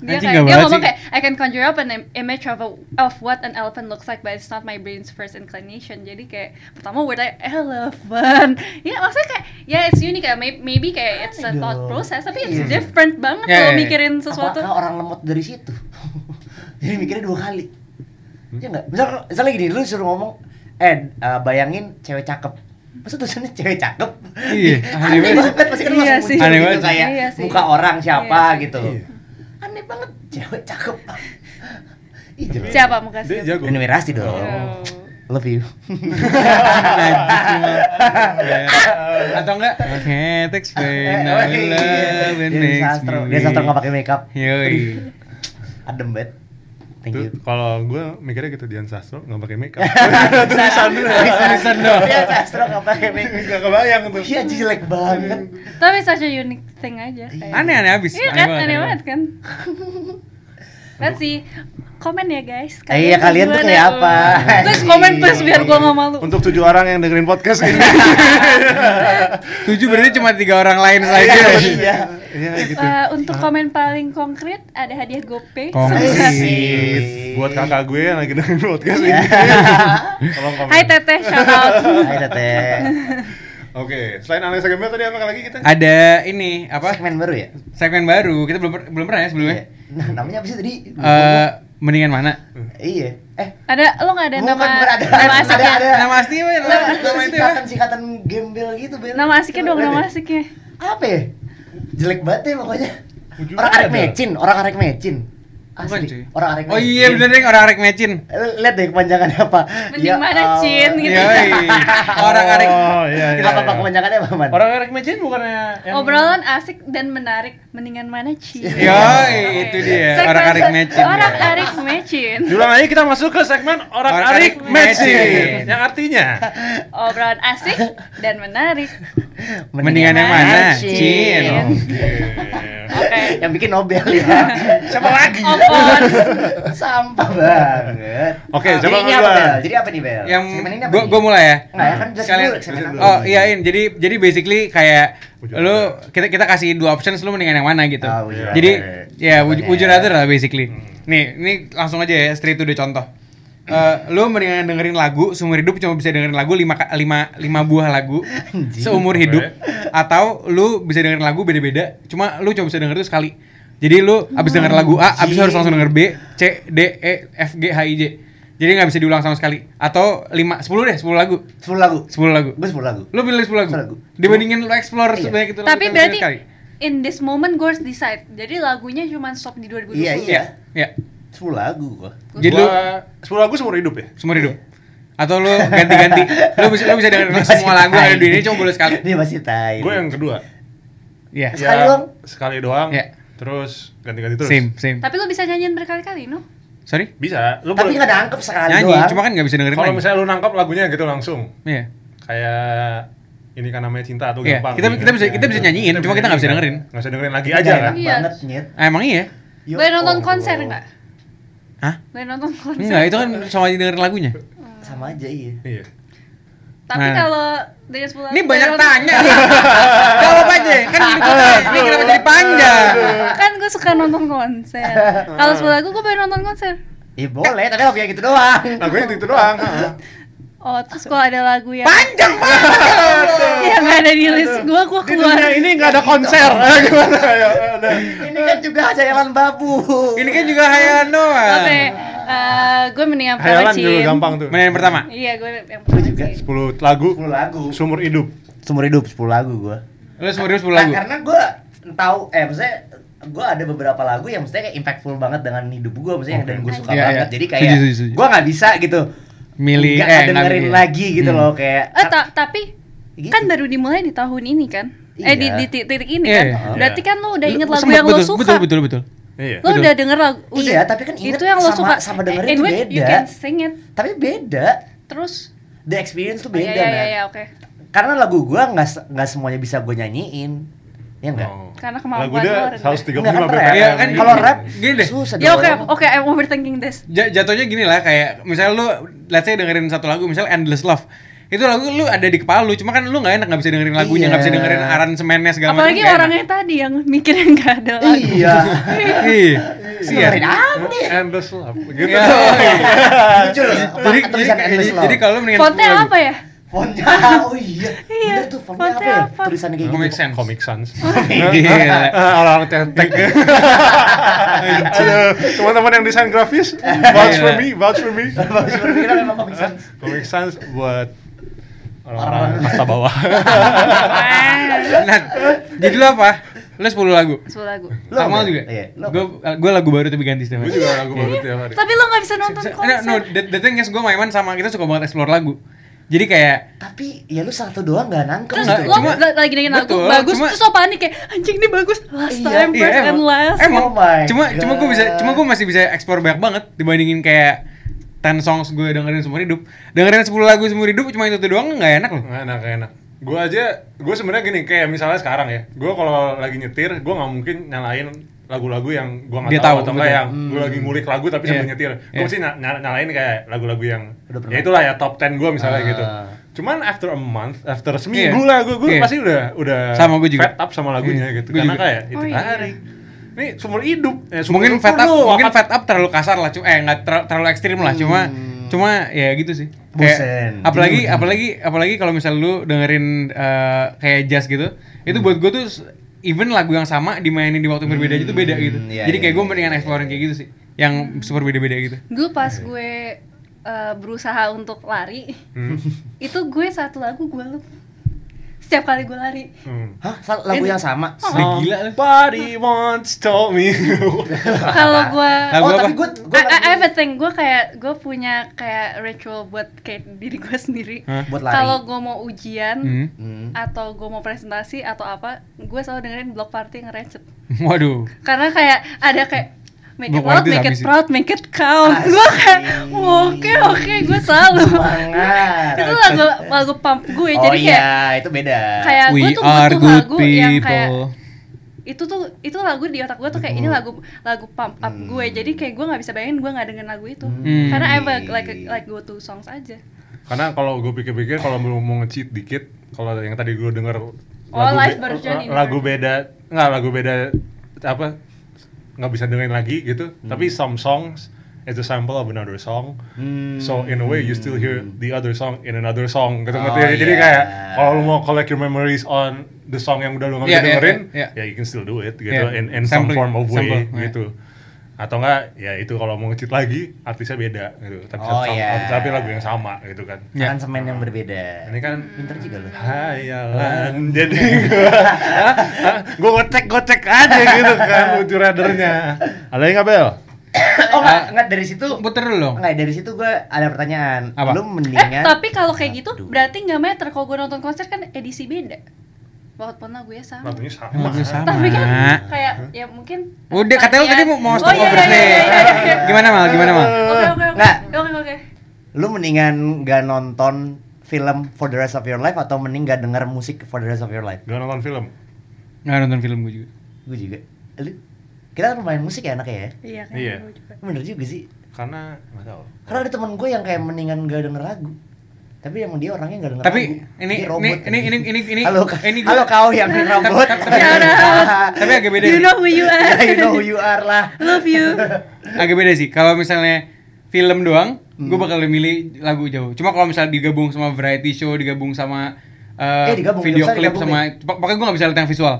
Speaker 5: dia
Speaker 3: Anjing, nggak
Speaker 5: kayak dia
Speaker 3: banget
Speaker 5: ngomong
Speaker 3: sih.
Speaker 5: kayak I can conjure up an im- image of a, of what an elephant looks like but it's not my brain's first inclination jadi kayak pertama wordnya elephant ya maksudnya kayak ya it's unique ya may- maybe kayak it's a
Speaker 2: Aduh.
Speaker 5: thought process tapi it's
Speaker 2: Iya.
Speaker 5: different
Speaker 3: Ya,
Speaker 5: banget kalau
Speaker 3: ya, ya.
Speaker 5: mikirin sesuatu
Speaker 2: Apakah orang lemot dari situ? Jadi mikirnya dua kali. Ya enggak? Misal misalnya gini, lu suruh ngomong eh eh, bayangin cewek cakep. Masa tulisannya cewek cakep?
Speaker 3: Iya, aneh
Speaker 2: aneh
Speaker 3: banget.
Speaker 2: banget pasti kan
Speaker 5: Iya
Speaker 2: langsung
Speaker 5: sih.
Speaker 2: muncul
Speaker 3: Aneh
Speaker 2: gitu
Speaker 3: banget.
Speaker 2: kayak
Speaker 5: Iya sih.
Speaker 2: muka orang siapa
Speaker 5: Iya sih.
Speaker 2: gitu.
Speaker 4: Iya.
Speaker 2: Aneh banget cewek cakep. Ih, jelek.
Speaker 5: siapa muka
Speaker 4: Dia
Speaker 5: siapa
Speaker 4: jago. Ah.
Speaker 2: Ini Mirasi dong.
Speaker 5: Oh.
Speaker 2: Love you.
Speaker 3: Najis semua. Ya. Atau iya. enggak? Okay, thanks when I love
Speaker 2: Eh, oh,
Speaker 3: and
Speaker 2: iya. Dia
Speaker 3: makes
Speaker 2: sastro,
Speaker 3: me-
Speaker 2: dia sastro nggak pakai makeup.
Speaker 3: Iya. Yoi.
Speaker 2: Adem banget. Thank
Speaker 4: Tuh,
Speaker 2: you.
Speaker 4: kalau gue mikirnya gitu Dian Sastro nggak pakai makeup.
Speaker 2: Tulisan dulu. Tulisan
Speaker 3: dong.
Speaker 2: Dia sastro nggak pakai makeup.
Speaker 4: Gak kebayang tuh.
Speaker 2: Iya jelek banget.
Speaker 5: tapi such a unique thing aja kayak.
Speaker 3: Aneh-aneh abis.
Speaker 5: Iya kan, aneh banget kan. Let's see, komen ya guys.
Speaker 2: Iya, kalian tuh
Speaker 5: gimana
Speaker 2: kayak apa? Iya.
Speaker 5: Terus komen please biar gua nggak malu.
Speaker 4: Untuk tujuh orang yang dengerin podcast ini.
Speaker 3: Tujuh berarti cuma tiga orang lain saja.
Speaker 2: Iya.
Speaker 4: Iya gitu.
Speaker 5: Eh, untuk komen paling konkret ada hadiah GoPay.
Speaker 3: Konkret.
Speaker 2: Iya, Sip.
Speaker 4: Buat kakak gue yang lagi dengerin podcast
Speaker 2: Iya.
Speaker 4: ini. Tolong komen.
Speaker 5: Hai Teteh, shout out.
Speaker 2: Hai teteh. Oke.
Speaker 4: Oke, selain analisa gembel tadi apa lagi kita?
Speaker 3: Ada ini apa?
Speaker 2: Segmen baru ya?
Speaker 3: Segmen baru. Kita belum per- belum pernah ya sebelumnya.
Speaker 2: Iya. Nah, namanya apa sih tadi?
Speaker 3: Eh, mendingan mana?
Speaker 2: Iya. Eh,
Speaker 5: Ada lo nggak ada
Speaker 2: bukan
Speaker 5: nama
Speaker 2: bukan ada.
Speaker 5: nama
Speaker 2: Ada
Speaker 5: asiknya?
Speaker 2: Iya, ada.
Speaker 3: Nama asli apa? Nama, nama itu ya?
Speaker 2: Sikatan sikatan gembel gitu Bel.
Speaker 5: Nama asiknya dong,
Speaker 2: Coba
Speaker 5: nama
Speaker 2: lihat deh.
Speaker 5: asiknya.
Speaker 2: Apa ya? Jelek banget ya pokoknya.
Speaker 4: Ujungnya
Speaker 2: Orang arek
Speaker 4: ada.
Speaker 2: mecin, orang arek mecin.
Speaker 3: Bukan, cuy.
Speaker 2: Asli. Orang arek
Speaker 3: Oh iya bener deh orang arek mecin.
Speaker 2: Eh, Lihat deh kepanjangannya apa. Ya
Speaker 5: Mending mana, Cin, gitu.
Speaker 3: Yoi. Orang arek.
Speaker 4: Oh, iya, iya,
Speaker 2: Apa apa
Speaker 4: iya.
Speaker 2: kepanjangannya apa, Man?
Speaker 6: Orang arek mecin bukannya yang
Speaker 5: Obrolan asik dan menarik, mendingan mana Cin?
Speaker 3: Yoi, itu dia.
Speaker 5: Segmen-
Speaker 3: Orang arek mecin.
Speaker 5: Orang arik mecin.
Speaker 6: Duluan aja kita masuk ke segmen orang
Speaker 3: Orang
Speaker 6: arik
Speaker 3: arik mecin.
Speaker 6: mecin yang artinya
Speaker 5: Obrolan asik dan menarik. Iya,
Speaker 3: Mendingan yang mana?
Speaker 5: Cin.
Speaker 3: Cin.
Speaker 5: Oke.
Speaker 2: Yang bikin Nobel ya.
Speaker 6: siapa lagi?
Speaker 5: Opon.
Speaker 2: Sampah banget.
Speaker 4: Oke,
Speaker 2: Jadi
Speaker 4: coba
Speaker 2: ini
Speaker 4: duluan.
Speaker 2: apa Bel? Jadi apa nih Bel?
Speaker 3: Yang
Speaker 2: Segmen ini apa
Speaker 3: gua
Speaker 2: nih?
Speaker 3: gua mulai ya.
Speaker 2: Enggak ya kan jelasin
Speaker 3: Sekalian-
Speaker 2: dulu segmen apa.
Speaker 3: Oh iya In. jadi jadi basically kayak
Speaker 4: Would you
Speaker 3: lu kita kita kasih dua options lu mendingan yang mana gitu.
Speaker 2: Ah, would you rather.
Speaker 3: jadi
Speaker 2: iya.
Speaker 3: ya would, would you
Speaker 2: Pokoknya.
Speaker 3: rather lah basically.
Speaker 2: Hmm.
Speaker 3: Nih, ini langsung aja ya straight to the contoh. Eh, lu mendingan dengerin lagu seumur hidup cuma bisa dengerin lagu 5 lima, lima buah lagu seumur hidup atau lu bisa dengerin lagu beda-beda cuma lu cuma bisa denger itu sekali. Jadi lu abis denger lagu A, abis itu harus langsung denger B, C, D, E, F, G, H, I, J. Jadi nggak bisa diulang sama sekali. Atau 5, 10 deh, 10 lagu.
Speaker 2: 10 lagu.
Speaker 3: 10 lagu.
Speaker 2: Gue 10 lagu.
Speaker 3: Lu pilih 10 lagu.
Speaker 2: Sepuluh lagu.
Speaker 3: Dibandingin lu explore
Speaker 2: Iya.
Speaker 3: sebanyak itu lagu
Speaker 5: Tapi
Speaker 3: kan
Speaker 5: berarti
Speaker 3: sekali.
Speaker 5: in this moment gue harus decide. Jadi lagunya cuma stop di 2020.
Speaker 2: Iya,
Speaker 3: Iya, iya.
Speaker 2: 10 lagu gua.
Speaker 3: Jadi lu
Speaker 4: sepuluh lagu seumur hidup ya?
Speaker 3: seumur hidup. Atau lu ganti-ganti. lu bisa lu bisa dengerin
Speaker 2: Dia
Speaker 3: semua
Speaker 2: masih
Speaker 3: lagu yang ada di
Speaker 2: tai.
Speaker 3: dunia cuma boleh sekali.
Speaker 2: Dia masih tai.
Speaker 4: Gue yang kedua. Ya,
Speaker 3: Iya.
Speaker 2: Sekali doang?
Speaker 4: Sekali doang.
Speaker 3: Iya.
Speaker 4: Terus ganti-ganti terus.
Speaker 3: Same, same.
Speaker 5: Tapi lo bisa nyanyiin berkali-kali, no?
Speaker 3: Sorry?
Speaker 4: Bisa. Lu
Speaker 2: tapi
Speaker 4: boleh-
Speaker 2: enggak nangkep sekali
Speaker 3: Nyanyi,
Speaker 2: doang. Iya,
Speaker 3: cuma kan nggak bisa dengerin
Speaker 4: Kalau
Speaker 3: lagi.
Speaker 4: misalnya lu nangkap lagunya gitu langsung.
Speaker 3: Iya.
Speaker 4: Kayak ini kan namanya cinta atau
Speaker 3: Iya,
Speaker 4: gampang. gitu ya.
Speaker 3: kita- kita bisa- kita bisa nyanyiin, cuma kita nggak bisa dengerin.
Speaker 4: Enggak bisa dengerin lagi
Speaker 2: Nggak
Speaker 4: aja kan.
Speaker 2: enak
Speaker 5: Iya.
Speaker 2: banget nyet.
Speaker 3: Ah, emang iya?
Speaker 2: Ya
Speaker 5: Boleh nonton
Speaker 2: Allah.
Speaker 5: konser nggak?
Speaker 3: Hah?
Speaker 5: Boleh nonton konser.
Speaker 3: Enggak, itu kan sama aja dengerin lagunya.
Speaker 2: Sama aja iya.
Speaker 4: Iya.
Speaker 5: Tapi
Speaker 3: Nah.
Speaker 5: kalau dari sepuluh
Speaker 3: Ini
Speaker 5: lagu,
Speaker 3: banyak
Speaker 5: boleh nonton-
Speaker 3: tanya. Jawab aja. Kan ini gua tanya. ini kenapa jadi panjang?
Speaker 5: Kan gue suka nonton konser. Kalau sepuluh lagu gue boleh nonton konser.
Speaker 2: Ya boleh, tapi lagu yang gitu doang.
Speaker 4: Lagunya itu, itu doang.
Speaker 5: Oh, terus kalau ada lagu yang
Speaker 3: Panjang banget.
Speaker 5: yang ada di list gue, gue
Speaker 6: Di
Speaker 5: keluar.
Speaker 6: dunia ini nggak ada konser. Eh, Gimana? Ya, ada.
Speaker 2: Ini kan juga hajalan babu.
Speaker 3: Ini kan juga hayalan doang.
Speaker 5: Oke, eh, gue mendingan pertama
Speaker 4: Hayalan dulu
Speaker 5: Cin.
Speaker 4: gampang tuh.
Speaker 3: Mana yang pertama?
Speaker 5: Iya, gue yang pertama
Speaker 2: juga.
Speaker 5: Cin.
Speaker 4: 10 lagu
Speaker 2: 10 lagu.
Speaker 4: seumur hidup.
Speaker 2: Seumur hidup 10 lagu gua.
Speaker 3: Lu seumur hidup 10
Speaker 2: Nah,
Speaker 3: lagu.
Speaker 2: karena gue tahu eh maksudnya gue ada beberapa lagu yang maksudnya kayak impactful banget dengan hidup gue maksudnya yang dan gue suka
Speaker 3: Iya,
Speaker 2: banget
Speaker 3: iya.
Speaker 2: jadi kayak
Speaker 3: Setuju, setuju, setuju.
Speaker 2: gue nggak bisa gitu
Speaker 3: Milih,
Speaker 2: nggak
Speaker 3: eh, nggak
Speaker 2: dengerin
Speaker 3: milih.
Speaker 2: lagi gitu
Speaker 3: Hmm.
Speaker 2: loh kayak
Speaker 5: Eh, ta- tapi
Speaker 2: Gitu.
Speaker 5: kan baru dimulai di tahun ini kan? Eh di,
Speaker 2: Iya.
Speaker 5: di ti- titik ini
Speaker 3: Iya,
Speaker 5: kan?
Speaker 3: iya.
Speaker 5: Berarti kan lo udah
Speaker 3: Lu-
Speaker 5: inget lagu
Speaker 3: sempet,
Speaker 5: yang lo
Speaker 3: Oh, betul,
Speaker 5: suka.
Speaker 3: Betul, betul, betul.
Speaker 4: Iya.
Speaker 5: Lo
Speaker 3: Betul.
Speaker 5: udah denger lagu
Speaker 2: Iya, tapi kan inget
Speaker 5: itu yang lo
Speaker 2: sama-
Speaker 5: suka
Speaker 2: sama dengerin
Speaker 5: And
Speaker 2: tuh
Speaker 5: wait, You
Speaker 2: beda.
Speaker 5: can sing it
Speaker 2: tapi beda
Speaker 5: terus.
Speaker 2: the experience tuh
Speaker 5: Oh,
Speaker 2: beda
Speaker 5: iya, iya,
Speaker 2: Nat.
Speaker 5: iya, oke.
Speaker 2: karena lagu gue nggak se- nggak semuanya bisa gue nyanyiin ya enggak
Speaker 4: Oh.
Speaker 5: Karena kemampuan
Speaker 4: lagu dia
Speaker 5: lo rendah.
Speaker 4: 135
Speaker 2: Nggak kan rap.
Speaker 4: BPM.
Speaker 3: Iya, kan
Speaker 2: kalau rap
Speaker 3: gini deh.
Speaker 2: susah
Speaker 5: Ya oke,
Speaker 2: dong.
Speaker 5: oke, I'm overthinking this.
Speaker 3: Ja- jatuhnya gini lah kayak misalnya lu let's say dengerin satu lagu misalnya Endless Love. itu lagu lu ada di kepala lu cuma kan lu nggak enak nggak bisa dengerin lagunya nggak bisa
Speaker 2: Iya.
Speaker 3: dengerin aransemennya segala macam
Speaker 5: Apalagi
Speaker 3: nggak enak.
Speaker 5: orangnya tadi yang mikirnya nggak ada lagu.
Speaker 2: Iya.
Speaker 3: iya Sian.
Speaker 2: Dengerin apa nih?
Speaker 4: Endless love gitu.
Speaker 3: Iya.
Speaker 2: Jujur ya. apa
Speaker 3: jadi
Speaker 2: tulisan
Speaker 3: jadi-
Speaker 2: endless love?
Speaker 3: jadi kalau lu mendingan
Speaker 5: Fontnya
Speaker 3: lagu.
Speaker 5: apa ya?
Speaker 2: Fontnya oh iya. Bener
Speaker 5: Iya,
Speaker 2: tuh fontnya apa
Speaker 5: fontnya
Speaker 2: ya?
Speaker 5: apa?
Speaker 2: Tulisannya kayak
Speaker 3: Comic
Speaker 2: gitu.
Speaker 3: Sans
Speaker 4: Comic Sans.
Speaker 3: Gila.
Speaker 4: Orang tentek. Aduh, teman-teman yang desain grafis, vouch for me, vouch for me.
Speaker 2: Bagus berpikiran emang Comic Sans.
Speaker 4: Comic Sans buat
Speaker 2: Orang-orang
Speaker 4: orang-orang kasta bawah.
Speaker 3: Nat, jadi lu Nah, apa lu 10 lagu
Speaker 5: Sepuluh lagu.
Speaker 2: Lu
Speaker 3: Akmal
Speaker 2: apa?
Speaker 3: juga
Speaker 2: Iya, lu apa?
Speaker 3: gue gue lagu baru tapi ganti setiap hari
Speaker 4: Gue juga lagu baru tiap hari.
Speaker 5: Tapi lo nggak bisa nonton
Speaker 3: Se-
Speaker 5: konser.
Speaker 3: Nah, no, no the, the thing is gue mainan sama kita suka banget explore lagu jadi kayak
Speaker 2: Tapi ya lu satu doang gak nangkep gitu.
Speaker 3: Enggak,
Speaker 5: Terus lo
Speaker 3: gitu? cuma-
Speaker 5: la- lagi dengerin lagu
Speaker 3: Betul,
Speaker 5: bagus,
Speaker 3: cuma-
Speaker 5: terus lo panik kayak anjing ini bagus last
Speaker 2: Iya,
Speaker 5: time
Speaker 3: Iya,
Speaker 5: first and last.
Speaker 3: Emang.
Speaker 2: Oh my
Speaker 3: cuma cuma gue bisa
Speaker 2: God.
Speaker 3: cuma gue masih bisa explore banyak banget dibandingin kayak 10 songs gue dengerin seumur hidup. Dengerin 10 lagu seumur hidup cuma itu tuh doang nggak enak loh.
Speaker 4: Nggak enak, nggak enak. Gue aja, gue sebenarnya gini, kayak misalnya sekarang ya, gue kalau lagi nyetir, gue nggak mungkin nyalain lagu-lagu yang gue nggak
Speaker 3: Dia
Speaker 4: tahu,
Speaker 3: tahu,
Speaker 4: atau nggak
Speaker 3: betul.
Speaker 4: yang gue lagi ngulik lagu tapi sambil
Speaker 3: Iya.
Speaker 4: nyetir. Gue
Speaker 3: Iya.
Speaker 4: mesti na- nyala- nyalain kayak lagu-lagu yang,
Speaker 2: Udah pernah.
Speaker 4: ya itulah ya top 10 gue misalnya
Speaker 2: Ah.
Speaker 4: gitu. Cuman after a month, after seminggu lah, gue gue
Speaker 3: Iya.
Speaker 4: pasti udah udah
Speaker 3: Sama, gua juga.
Speaker 4: fed up sama lagunya
Speaker 3: Iya.
Speaker 4: gitu.
Speaker 3: Gua
Speaker 4: Karena
Speaker 3: juga.
Speaker 4: kayak itu
Speaker 5: Oh, iya.
Speaker 4: hari. Ini seumur hidup. Eh, seumur
Speaker 3: mungkin
Speaker 4: hidup
Speaker 3: fat up,
Speaker 4: lu,
Speaker 3: mungkin fat
Speaker 4: wakat-
Speaker 3: up terlalu kasar lah, cuma eh nggak ter- terlalu ekstrim lah, cuma
Speaker 2: Hmm.
Speaker 3: cuma ya gitu sih.
Speaker 2: Bosen.
Speaker 3: Kayak, apalagi
Speaker 2: Jenuh, jenuh.
Speaker 3: apalagi apalagi kalau misal lu dengerin eh, kayak jazz gitu, itu
Speaker 2: Hmm.
Speaker 3: buat gue tuh s- even lagu yang sama dimainin di waktu yang berbeda aja tuh beda gitu.
Speaker 2: iya,
Speaker 3: Jadi kayak
Speaker 2: iya,
Speaker 3: gue mendingan exploring kayak gitu sih, yang super beda-beda gitu.
Speaker 5: Dulu pas gue eh, berusaha untuk lari,
Speaker 4: Hmm.
Speaker 5: itu gue satu lagu gue lupa. Setiap kali gue lari,
Speaker 4: Hmm.
Speaker 2: Hah? Sa- Lagu yang sama?
Speaker 5: Oh,
Speaker 3: Sedih gila lu.
Speaker 4: Somebody once told me.
Speaker 5: kalau gue
Speaker 3: Lagu
Speaker 2: oh,
Speaker 3: apa?
Speaker 2: tapi gue
Speaker 5: I, I, I have a thing, gue kayak gue punya kayak ritual buat kayak diri gue sendiri.
Speaker 3: Hah?
Speaker 2: buat lari.
Speaker 5: Kalau gue mau ujian
Speaker 3: Hmm.
Speaker 2: Hmm.
Speaker 5: atau gue mau presentasi atau apa, gue selalu dengerin Block Party ngerecet.
Speaker 3: Waduh.
Speaker 5: karena kayak ada kayak make it
Speaker 3: Block
Speaker 5: loud,
Speaker 3: party
Speaker 5: make it
Speaker 3: habis sih.
Speaker 5: proud, make it count.
Speaker 2: Asik.
Speaker 5: Gue kayak oke oke gue selalu
Speaker 2: Semangat.
Speaker 5: itu lagu lagu pump
Speaker 2: Oh
Speaker 5: gue ya, jadi
Speaker 2: iya,
Speaker 5: kayak
Speaker 2: itu beda.
Speaker 5: kayak gue
Speaker 3: We
Speaker 5: tuh
Speaker 3: are
Speaker 5: butuh
Speaker 3: good
Speaker 5: lagu yang kayak
Speaker 3: people.
Speaker 5: itu tuh itu lagu di otak gue tuh kayak ini lagu lagu pump up
Speaker 3: Mm.
Speaker 5: gue jadi kayak gue nggak bisa bayangin gue nggak dengerin lagu itu
Speaker 3: Hmm.
Speaker 5: karena I have a, like like go to songs aja
Speaker 4: Karena kalau gue pikir-pikir kalau mau mau nge-cheat dikit, kalau yang tadi gue denger
Speaker 5: Oh,
Speaker 4: be- eh,
Speaker 5: live version ini.
Speaker 4: lagu beda, nggak lagu beda apa nggak bisa dengerin lagi gitu.
Speaker 2: Hmm.
Speaker 4: Tapi some songs it's a sample of another song.
Speaker 2: Hmm.
Speaker 4: So in a way you still hear the other song in another song gitu.
Speaker 2: Oh,
Speaker 4: ngerti ya? Jadi
Speaker 2: iya.
Speaker 4: kayak kalau lu mau collect your memories on the song yang udah lu nggak
Speaker 3: Iya,
Speaker 4: bisa
Speaker 3: iya,
Speaker 4: dengerin,
Speaker 3: iya,
Speaker 4: ya you can still do it gitu
Speaker 3: Iya.
Speaker 4: in in some
Speaker 3: Sampling,
Speaker 4: form of way
Speaker 3: sample, iya.
Speaker 4: gitu. Atau enggak ya itu kalau mau nge-cheat lagi artisnya beda gitu. Tapi
Speaker 2: Oh,
Speaker 4: satu-
Speaker 2: iya.
Speaker 4: tapi lagu yang sama gitu kan.
Speaker 3: Ya.
Speaker 2: Aransemen yang berbeda.
Speaker 4: Ini kan
Speaker 2: Iya. Pinter juga lu.
Speaker 4: hayalan jadi gua Hah? Hah? gua gocek gocek aja gitu kan lucu radernya ada yang nggak bel
Speaker 2: Oh
Speaker 3: Ah.
Speaker 2: enggak, enggak dari situ.
Speaker 3: Puter dulu dong.
Speaker 2: Enggak, dari situ gue ada pertanyaan.
Speaker 3: Apa?
Speaker 2: Lu
Speaker 5: eh
Speaker 2: mendingan
Speaker 5: tapi kalau kayak gitu
Speaker 2: Aduh.
Speaker 5: berarti nggak matter kalau gue nonton konser kan edisi beda walaupun lagunya sama
Speaker 4: lagunya sama
Speaker 3: Lagu sama.
Speaker 5: Tapi kan kayak ya mungkin
Speaker 3: Udah katanya lu tadi mau mau
Speaker 5: Oh,
Speaker 3: stop
Speaker 5: iya,
Speaker 3: over
Speaker 5: iya,
Speaker 3: nih.
Speaker 5: iya, iya, iya.
Speaker 3: Gimana mal? Ah, Gimana mal?
Speaker 5: Oke oke oke.
Speaker 2: Nggak.
Speaker 5: Oke oke.
Speaker 2: lu mendingan gak nonton film for the rest of your life atau mending gak denger musik for the rest of your life?
Speaker 4: gak nonton film
Speaker 3: Nggak nonton film gue juga.
Speaker 2: Gue juga. Lu kita kan main musik ya anaknya ya.
Speaker 5: Iya kan.
Speaker 4: Iya.
Speaker 5: gua juga.
Speaker 2: Bener juga sih.
Speaker 4: karena nggak tahu
Speaker 2: Karena ada temen gue yang kayak mendingan gak denger lagu. Tapi emang dia orangnya gak denger
Speaker 3: Tapi
Speaker 2: lagu.
Speaker 3: ini
Speaker 2: Dia
Speaker 3: ini
Speaker 2: robot. gitu.
Speaker 3: ini ini ini ini
Speaker 2: halo, ka-
Speaker 3: ini
Speaker 2: halo kau yang robot. Ya
Speaker 5: Shout out.
Speaker 3: tapi agak beda.
Speaker 5: You know who you are.
Speaker 2: you know who you are lah.
Speaker 5: Love you.
Speaker 3: Agak beda sih. Kalau misalnya film doang,
Speaker 2: Hmm.
Speaker 3: gue bakal milih lagu jauh. Cuma kalau misalnya digabung sama variety show, digabung sama
Speaker 2: Eh,
Speaker 3: eh,
Speaker 2: digabung,
Speaker 3: video
Speaker 2: bisa
Speaker 3: klip
Speaker 2: digabung
Speaker 3: sama pok- pokoknya gue gak bisa lihat yang visual.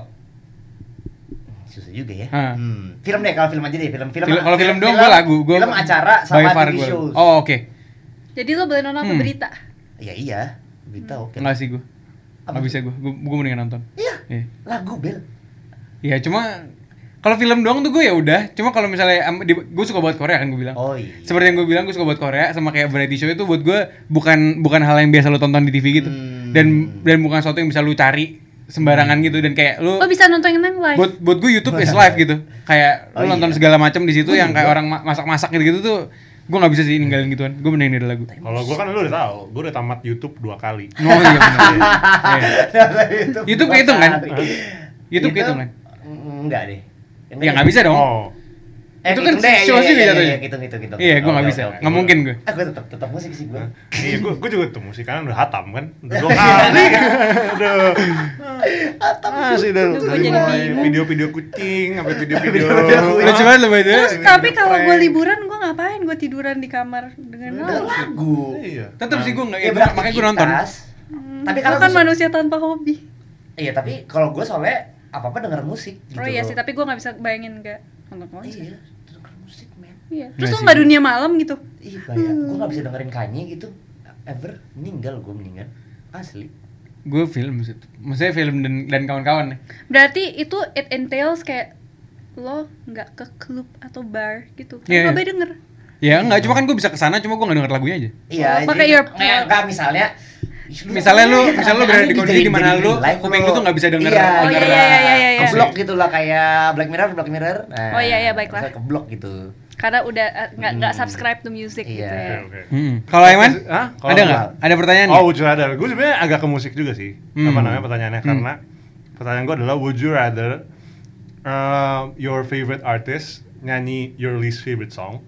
Speaker 2: Susah juga ya.
Speaker 3: Ha.
Speaker 2: Hmm. Film deh kalau film aja deh, film eh, film.
Speaker 3: Ah. Film- kalau film doang gue lagu, gue
Speaker 2: Film acara
Speaker 3: by
Speaker 2: sama
Speaker 3: far
Speaker 2: TV
Speaker 3: gua lagu.
Speaker 2: shows.
Speaker 3: Oh, oke.
Speaker 5: Jadi lo boleh nonton apa
Speaker 3: Hmm.
Speaker 5: berita.
Speaker 2: Iya iya. Berita oke.
Speaker 3: Enggak sih gue.
Speaker 2: Apa
Speaker 3: Enggak
Speaker 2: tuh?
Speaker 3: bisa gue. Gue mendingan nonton.
Speaker 2: Iya.
Speaker 3: Iya.
Speaker 2: Lagu bel.
Speaker 3: Ya cuma kalau film doang tuh gue ya udah. Cuma kalau misalnya am- di- gue suka buat Korea kan gue bilang.
Speaker 2: Oh iya.
Speaker 3: Seperti yang gue bilang gue suka buat Korea sama kayak variety show itu buat gue bukan bukan hal yang biasa lo tonton di TV gitu.
Speaker 2: Hmm.
Speaker 3: Dan dan bukan sesuatu yang bisa lo cari sembarangan gitu dan kayak lo
Speaker 5: Lo Oh, bisa nonton yang live.
Speaker 3: buat buat gue YouTube is live gitu. Kayak
Speaker 2: Oh,
Speaker 3: lo nonton
Speaker 2: iya.
Speaker 3: segala macam di situ
Speaker 2: Gua
Speaker 3: yang kayak
Speaker 2: juga.
Speaker 3: orang ma- masak-masak gitu, gitu tuh gue nggak bisa sih ninggalin gituan. Gue mending ada lagu.
Speaker 4: kalau gue kan lu udah tahu gue udah tamat YouTube dua kali
Speaker 3: Oh iya benar.
Speaker 2: Hahaha.
Speaker 3: YouTube kehitung kan? YouTube
Speaker 2: YouTube
Speaker 3: kehitung kan?
Speaker 2: Gitu. Mm, Enggak deh.
Speaker 3: Ya nggak bisa dong.
Speaker 4: oh
Speaker 2: Eh,
Speaker 3: Itu kan
Speaker 2: hitung deh, iya, iya,
Speaker 3: situasi nih
Speaker 2: iya,
Speaker 3: jatuhnya.
Speaker 2: iya, Hitung, hitung, hitung.
Speaker 3: Iya, gua nggak
Speaker 2: Oke,
Speaker 3: bisa.
Speaker 2: oke, oke.
Speaker 3: Nggak mungkin gua.
Speaker 2: Ah, gua tetap tetap musik sih gua.
Speaker 4: Iya, gue gue juga tuh musik karena udah hatam kan, udah dua kali. Aduh,
Speaker 2: Hatam.
Speaker 4: masih udah
Speaker 5: Aduh, gua jadi bingung.
Speaker 4: video-video kucing, sampai video-video.
Speaker 3: Lucu banget lu by the way.
Speaker 2: eh,
Speaker 5: Terus tapi kalau gue liburan gue ngapain? Gue tiduran di kamar dengan
Speaker 2: Ada
Speaker 5: lagu.
Speaker 2: lagu.
Speaker 4: Iya.
Speaker 3: Tetep sih gua nggak,
Speaker 2: Ya,
Speaker 3: ya, makanya gua nonton.
Speaker 2: beraktivitas. Tapi
Speaker 5: Tapi
Speaker 2: kalau
Speaker 5: kan
Speaker 2: gua-
Speaker 5: manusia tanpa hobi.
Speaker 2: Iya, tapi kalau gua soalnya apa-apa denger musik gitu.
Speaker 5: Oh iya
Speaker 2: loh.
Speaker 5: sih, tapi gue nggak bisa bayangin "Oh, nggak nonton konser.
Speaker 2: Iya, denger musik, men.
Speaker 5: Iya.
Speaker 3: Nggak
Speaker 5: Terus lo
Speaker 3: sih.
Speaker 5: nggak dunia malam gitu?
Speaker 2: Ih, banyak. Gua nggak bisa dengerin Kanye gitu. Ever meninggal gua mendingan. Asli.
Speaker 3: Gue film sih. Maksudnya film dan dan kawan-kawan nih.
Speaker 5: Berarti itu it entails kayak lo nggak ke klub atau bar gitu.
Speaker 3: Iya,
Speaker 5: Kan
Speaker 3: iya.
Speaker 5: nggak denger.
Speaker 3: Ya enggak, cuma kan gue bisa kesana, cuma gue gak denger lagunya aja
Speaker 2: Iya,
Speaker 5: pakai
Speaker 2: jadi-
Speaker 5: earphone.
Speaker 2: Nggak, nggak, misalnya
Speaker 3: Misalnya lu- misalnya lu berada di kondisi
Speaker 2: Jadi-
Speaker 3: di mana
Speaker 2: jadi
Speaker 3: lu,
Speaker 2: green light
Speaker 3: kuping lu tuh nggak bisa denger
Speaker 2: Iya,
Speaker 5: Oh,
Speaker 2: denger
Speaker 5: iya, iya, iya, iya, iya.
Speaker 2: Keblok gitu lah kayak Black Mirror, Black Mirror Nah,
Speaker 5: Oh, iya, iya, baiklah.
Speaker 2: misalnya Keblok gitu
Speaker 3: Oh,
Speaker 5: Karena udah eh, nggak nggak subscribe to music
Speaker 2: Iya.
Speaker 5: gitu ya.
Speaker 4: Eh, Oke, oke.
Speaker 3: hmm. Kalau Eman,
Speaker 4: Hah? Kalau
Speaker 3: ada nggak? Ada pertanyaan nggak?
Speaker 4: Oh, would you rather? Gue sebenarnya agak ke musik juga sih.
Speaker 3: Hmm.
Speaker 4: Apa namanya pertanyaannya?
Speaker 3: Hmm.
Speaker 4: Karena pertanyaan gue adalah would you rather uh, your favorite artist nyanyi your least favorite song?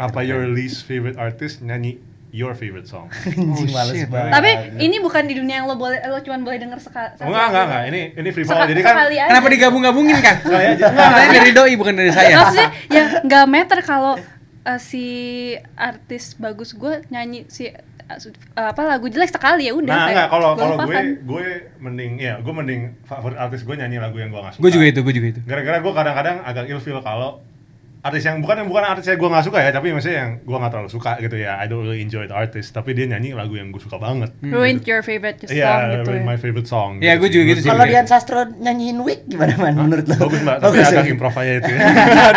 Speaker 4: Apa your least favorite artist nyanyi your favorite song?
Speaker 2: Anjing, males
Speaker 3: shit.
Speaker 2: banget.
Speaker 5: Tapi ini bukan di dunia yang lo boleh lo cuman boleh denger sekali.
Speaker 4: Nah, Oh, enggak, enggak, enggak. Ini ini free fall.
Speaker 5: Sekali,
Speaker 4: Jadi kan
Speaker 5: aja.
Speaker 3: Kenapa digabung-gabungin kan?
Speaker 4: Saya aja.
Speaker 3: Pertanyaan dari doi bukan dari saya
Speaker 5: Maksudnya ya nggak matter kalau eh, si artis bagus gue nyanyi si eh, su- eh, apa lagu jelek sekali ya udah.
Speaker 4: Nah,
Speaker 5: kayak
Speaker 4: enggak kalau
Speaker 5: gua
Speaker 4: kalau gue
Speaker 5: lupakan.
Speaker 4: gue mending ya, gue mending favorit artis gue nyanyi lagu yang gue enggak suka.
Speaker 3: Gue juga itu, gue juga itu
Speaker 4: gara-gara gue kadang-kadang agak ilfeel kalau artis yang bukan bukan artis yang gue nggak suka ya tapi maksudnya yang gue nggak terlalu suka gitu ya I don't really enjoy the artist tapi dia nyanyi lagu yang gue suka banget
Speaker 5: ruined your favorite Hmm. song
Speaker 4: Iya,
Speaker 5: gitu.
Speaker 4: really
Speaker 5: ya.
Speaker 4: my favorite song.
Speaker 3: Iya, gua juga gitu sih.
Speaker 2: Kalau
Speaker 3: Iya.
Speaker 2: Dian Sastro nyanyiin Wig gimana man menurut lo?
Speaker 4: ya. Bagus mbak, tapi agak
Speaker 2: ya?
Speaker 4: improv aja itu ya.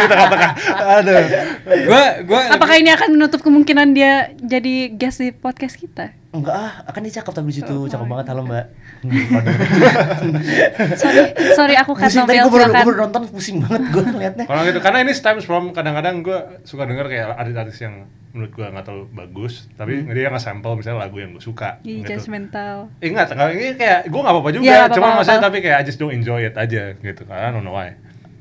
Speaker 4: Di tengah-tengah. Aduh.
Speaker 3: Gue, gue
Speaker 5: Apakah ini akan menutup kemungkinan dia jadi guest di podcast kita?
Speaker 2: Enggak ah, akan dia cakep tapi di
Speaker 5: Oh,
Speaker 2: situ cakep banget
Speaker 5: iya.
Speaker 2: halo mbak.
Speaker 5: Sorry, sorry aku cut
Speaker 2: Pusing tadi gue baru,
Speaker 5: novel
Speaker 2: gua
Speaker 5: silakan.
Speaker 2: baru nonton pusing banget gue ngeliatnya.
Speaker 4: Kalau gitu, karena ini stems from kadang-kadang gue suka denger kayak artis-artis yang menurut gue nggak terlalu bagus,
Speaker 5: Hmm.
Speaker 4: tapi dia nggak sample misalnya lagu yang gue suka. gitu.
Speaker 5: Ih, judgmental.
Speaker 4: Ingat, kalau ini kayak gue nggak apa-apa juga,
Speaker 5: Iya, nggak apa-apa,
Speaker 4: cuma maksudnya
Speaker 5: nggak
Speaker 4: tapi kayak I just don't enjoy it aja gitu. Karena I don't know why.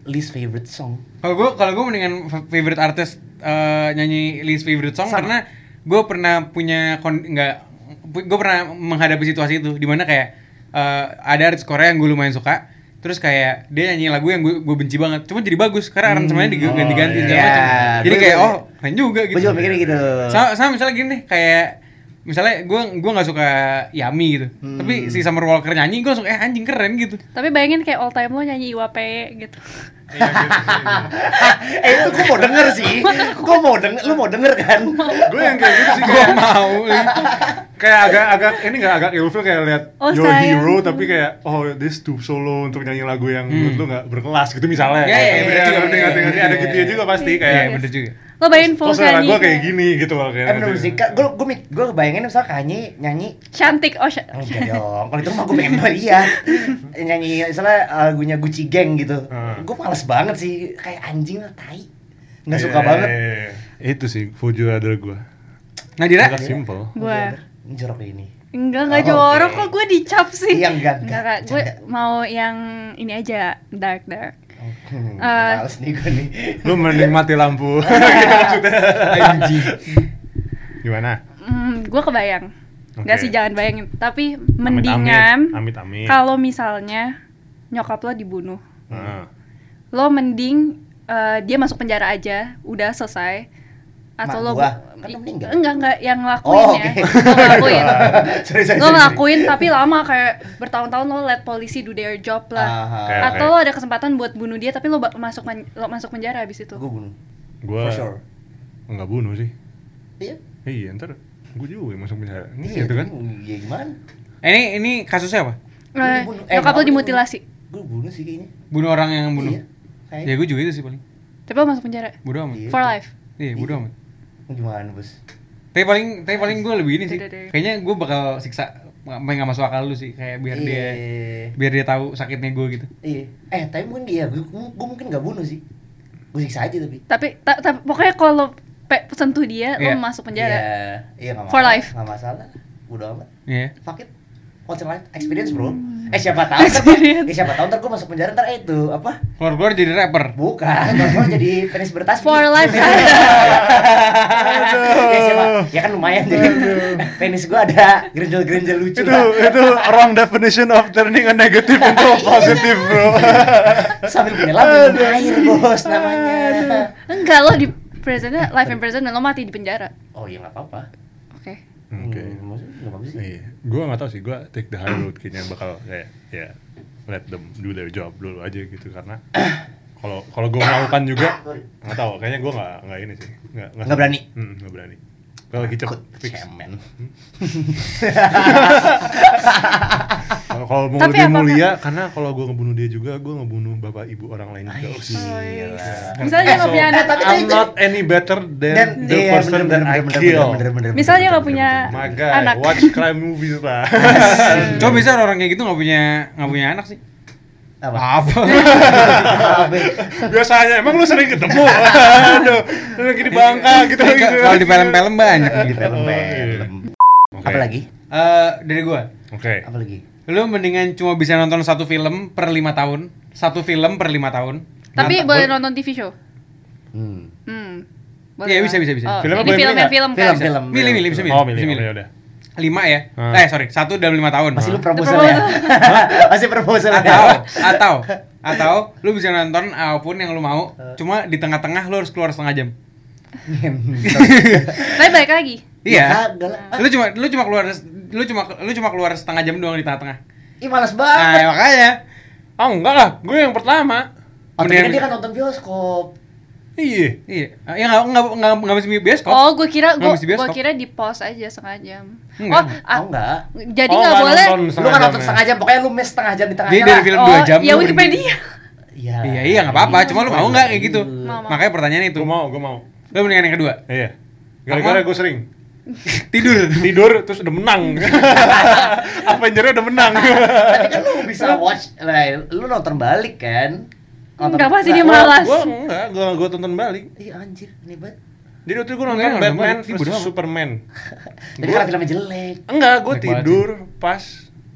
Speaker 2: Least favorite song.
Speaker 3: Kalau gue kalau gue mendingan fa- favorite artist eh, nyanyi least favorite song karena gue pernah punya kon nggak gue pernah menghadapi situasi itu dimana kayak eh, ada artis Korea yang gue lumayan suka terus kayak dia nyanyi lagu yang gue benci banget cuma jadi bagus karena aransemennya diganti-ganti
Speaker 4: iya.
Speaker 3: segala macam
Speaker 2: Iya,
Speaker 3: jadi
Speaker 2: gua-
Speaker 3: kayak
Speaker 2: gua-
Speaker 3: oh keren juga gitu
Speaker 2: Gue juga mikirnya gitu.
Speaker 3: sama, sama misalnya gini nih, kayak misalnya gue gue nggak suka Yami gitu tapi si Summer Walker nyanyi gue langsung eh anjing keren gitu
Speaker 5: Tapi bayangin kayak all time lo nyanyi Iwape gitu.
Speaker 4: Iya, gitu sih.
Speaker 2: eh itu gue mau denger sih. Gue mau denger, lu mau denger kan?
Speaker 4: gue yang kayak gitu sih
Speaker 3: gue
Speaker 4: kayak,
Speaker 3: mau
Speaker 4: kayak agak agak ini nggak agak ilfil kayak lihat
Speaker 5: Oh,
Speaker 4: your
Speaker 5: sayang.
Speaker 4: hero tapi kayak oh this too solo untuk nyanyi lagu yang menurut lu nggak berkelas gitu misalnya
Speaker 3: Iya, iya, bener
Speaker 4: Iya,
Speaker 3: juga,
Speaker 4: ngerti
Speaker 3: bener
Speaker 4: ngerti
Speaker 3: juga.
Speaker 4: ngerti ada gitu ya juga pasti kayak
Speaker 3: Iya bener juga
Speaker 5: Lo bayangin full
Speaker 4: kok selera
Speaker 5: nyanyi.
Speaker 4: gue kayak gini gitu loh kayak
Speaker 2: Eh bener sih, gue gue gue bayangin misalnya Kanye nyanyi "Ah,
Speaker 5: Cantik oh sya-
Speaker 2: Enggak dong, kalau itu mah gue pengen melihat Eh, Nyanyi misalnya lagunya Gucci Gang gitu
Speaker 4: Hmm.
Speaker 2: Gue males banget sih, kayak anjing lah, tai Nggak
Speaker 4: Iya,
Speaker 2: suka banget
Speaker 4: iya, iya. itu sih Fuju ada gue
Speaker 3: Nadira
Speaker 4: agak simple
Speaker 5: gue.
Speaker 2: Ini jorok deh ini
Speaker 5: Enggak enggak
Speaker 2: Oh,
Speaker 5: jorok
Speaker 2: oke.
Speaker 5: kok gue dicap sih.
Speaker 2: Iya, enggak, enggak.
Speaker 5: enggak. Kak. Gue
Speaker 2: Canda.
Speaker 5: mau yang ini aja dark dark.
Speaker 2: Hmm,
Speaker 5: Eh.
Speaker 2: males nih gue nih
Speaker 4: lu menikmati lampu Gitu maksudnya.
Speaker 3: anjing
Speaker 4: gimana
Speaker 5: Hmm, gue kebayang. Enggak
Speaker 4: Oke.
Speaker 5: sih jangan bayangin, tapi
Speaker 4: Amit-amit.
Speaker 5: mendingan
Speaker 4: Amit-amit.
Speaker 5: kalau misalnya nyokap lo dibunuh,
Speaker 4: Nah.
Speaker 5: lo mending eh, dia masuk penjara aja, udah selesai atau
Speaker 2: Mak
Speaker 5: lo
Speaker 2: gua, kan udah meninggal.
Speaker 5: enggak enggak yang ngelakuin
Speaker 2: Oh,
Speaker 5: ya
Speaker 2: oke
Speaker 5: lo ngelakuin
Speaker 2: Sorry, sorry,
Speaker 5: lo
Speaker 2: sorry,
Speaker 5: ngelakuin tapi lama kayak bertahun-tahun lo let polisi do their job lah
Speaker 2: Aha.
Speaker 4: Oke,
Speaker 5: atau lo ada kesempatan buat bunuh dia tapi lo ba- masuk pen- lo masuk penjara abis itu Eh,
Speaker 2: Gue bunuh,
Speaker 4: gue
Speaker 2: for sure
Speaker 4: nggak bunuh sih
Speaker 2: Iya
Speaker 4: iya ntar gue juga yang masuk penjara
Speaker 2: Iya
Speaker 4: ini gitu kan
Speaker 2: Iya gimana?
Speaker 3: Eh, Ini ini kasusnya apa?
Speaker 2: Gua
Speaker 5: Eh,
Speaker 2: dibunuh. Eh,
Speaker 5: nyokap lo
Speaker 2: maaf,
Speaker 5: dimutilasi
Speaker 2: Gue bunuh sih kayaknya
Speaker 3: Bunuh orang yang bunuh.
Speaker 2: Iya, kayak
Speaker 3: Ya gue juga itu sih paling.
Speaker 5: tapi lo masuk penjara
Speaker 3: Bodoh amat.
Speaker 2: Iya.
Speaker 5: for life
Speaker 3: Iya, bodoh amat.
Speaker 2: Gimana bos?
Speaker 3: Tapi paling tapi paling gue lebih ini sih.
Speaker 5: Tidak, tidak.
Speaker 3: Kayaknya gue bakal siksa main nggak masuk akal lu sih kayak biar dia
Speaker 2: Iya.
Speaker 3: biar dia tahu sakitnya gue gitu.
Speaker 2: Iya Eh tapi mungkin iya, gue mungkin gak bunuh sih Gue siksa aja tapi
Speaker 5: tapi ta- ta- pokoknya kalau pe- sentuh dia
Speaker 3: Iya.
Speaker 5: lo masuk penjara
Speaker 2: Iya, iya gak
Speaker 5: For
Speaker 2: masalah
Speaker 5: life.
Speaker 2: Gak masalah Udah amat
Speaker 3: Iya.
Speaker 5: Hmm.
Speaker 2: fuck it what's your life experience bro eh siapa tahu ntar gua- eh siapa tahu ntar gue masuk penjara ntar eh, itu apa
Speaker 3: Keluar-keluar jadi rapper.
Speaker 2: bukan gue jadi penis bertasbih
Speaker 5: For life.
Speaker 2: ya siapa ya kan lumayan jadi penis gue ada grenjel-grenjel lucu
Speaker 6: itu
Speaker 2: lah.
Speaker 6: itu wrong definition of turning a negative into a positive bro
Speaker 2: sambil menyelam minum air bos namanya
Speaker 5: Enggak lo di presentnya life in prison dan lo mati di penjara.
Speaker 2: oh iya nggak apa-apa
Speaker 5: Oke.
Speaker 4: Oke.
Speaker 2: Hmm, maksudnya nggak bagus sih
Speaker 4: Iya. Gue gak tau sih, gue take the high road kayaknya bakal kayak ya let them do their job dulu aja gitu karena kalau kalau gue melakukan juga nggak tahu kayaknya gue nggak nggak ini sih nggak
Speaker 2: Nggak berani?
Speaker 4: Hmm, nggak berani kalau lagi cepet
Speaker 2: Takut,
Speaker 4: fix
Speaker 2: cemen
Speaker 4: kalau kalau mau
Speaker 5: Tapi
Speaker 4: lebih
Speaker 5: apakah-
Speaker 4: mulia karena kalau gue ngebunuh dia juga gue ngebunuh bapak ibu orang lain juga Ush.
Speaker 5: Oh, iya. Misalnya nggak
Speaker 4: So,
Speaker 5: punya anak,
Speaker 2: tapi kan
Speaker 4: I'm
Speaker 2: itu-
Speaker 4: not any better than
Speaker 2: dan
Speaker 4: the
Speaker 2: iya,
Speaker 4: person that I
Speaker 2: bener-bener,
Speaker 4: kill
Speaker 2: bener-bener,
Speaker 5: Misalnya
Speaker 2: bener-bener,
Speaker 5: nggak punya
Speaker 2: bener-bener.
Speaker 4: Oh my guy
Speaker 5: anak.
Speaker 4: watch crime movies lah
Speaker 3: Coba bisa orang kayak gitu nggak punya nggak punya anak sih.
Speaker 2: apa
Speaker 3: Apa?
Speaker 2: Apa?
Speaker 4: biasanya emang lu sering ketemu aduh lu lagi di bangka gitu gitu
Speaker 3: Iya. Kalau di film-film banyak.
Speaker 2: di
Speaker 3: gitu.
Speaker 2: film film apa lagi
Speaker 3: Eh, dari gua,
Speaker 4: oke
Speaker 2: apa lagi
Speaker 3: lu mendingan cuma bisa nonton satu film per lima tahun, satu film per lima tahun.
Speaker 5: tapi
Speaker 3: Nonton-
Speaker 5: boleh nonton TV show.
Speaker 2: hmm.
Speaker 5: Hmm.
Speaker 3: Iya, bisa, bisa, bisa.
Speaker 5: Oh,
Speaker 4: Filmnya
Speaker 5: ini
Speaker 4: boleh
Speaker 5: film
Speaker 4: milih
Speaker 5: ya
Speaker 4: nggak?
Speaker 5: film kan.
Speaker 2: film film
Speaker 3: Milih, milih, bisa milih.
Speaker 4: oh milih
Speaker 3: Bisa
Speaker 4: milih udah
Speaker 3: Lima ya?
Speaker 4: Hmm.
Speaker 3: Eh sorry, satu dalam lima tahun.
Speaker 2: masih lu
Speaker 3: Hmm.
Speaker 2: proposal ya masih proposal ya
Speaker 3: atau atau atau lu bisa nonton apapun yang lu mau,
Speaker 2: Ah.
Speaker 3: cuma di tengah-tengah lu harus keluar setengah jam.
Speaker 5: Tapi balik lagi.
Speaker 3: Iya.
Speaker 2: kagak lah. Ah,
Speaker 3: Lu cuma lu cuma keluar lu cuma lu cuma keluar setengah jam doang di tengah-tengah.
Speaker 2: ih malas
Speaker 3: Nah,
Speaker 2: banget
Speaker 3: makanya.
Speaker 4: oh enggak lah gue yang pertama
Speaker 2: oh tapi kan
Speaker 3: Ah, mendingan-
Speaker 2: dia kan nonton bioskop
Speaker 4: iya
Speaker 3: Iya, ya nggak nggak nggak nggak mesti bioskop.
Speaker 5: Oh, gue kira
Speaker 3: Nggak
Speaker 5: gue
Speaker 3: mesti bioskop.
Speaker 5: kira di pause aja setengah jam.
Speaker 3: Nggak.
Speaker 5: Oh, ah,
Speaker 2: oh enggak
Speaker 5: jadi
Speaker 4: Oh,
Speaker 5: nggak
Speaker 4: nggak
Speaker 5: boleh.
Speaker 4: nonton.
Speaker 2: lu kan nonton
Speaker 4: Setengah jam,
Speaker 2: setengah jam pokoknya lu miss setengah jam di
Speaker 3: Jadi
Speaker 2: tengahnya
Speaker 3: dari
Speaker 2: lah.
Speaker 3: film
Speaker 5: Oh,
Speaker 3: dua jam.
Speaker 5: ya
Speaker 3: lu pergi.
Speaker 5: Wikipedia.
Speaker 2: iya
Speaker 3: Iya iya nggak apa-apa, cuma lu mau nggak kayak gitu.
Speaker 5: Mau, mau.
Speaker 3: Makanya pertanyaan itu.
Speaker 4: gue mau gue mau
Speaker 3: Lu mendingan yang kedua.
Speaker 4: iya gara-gara gue sering
Speaker 3: Tidur.
Speaker 4: tidur terus udah menang Avengernya udah menang
Speaker 2: tapi kan lu bisa watch lah, lu nonton balik kan Nonton-
Speaker 5: Enggak pasti dia
Speaker 2: Nah,
Speaker 5: malas.
Speaker 4: gue enggak gue gue tonton balik
Speaker 2: iya anjir ini banget
Speaker 4: jadi waktu itu gue
Speaker 3: Enggak,
Speaker 4: nonton
Speaker 3: nonton
Speaker 4: Batman
Speaker 3: balik. Ih, bodoh
Speaker 4: versus
Speaker 3: amat.
Speaker 4: Superman
Speaker 2: Jadi karena filmnya jelek.
Speaker 4: enggak gue
Speaker 3: Enak banget
Speaker 4: tidur pas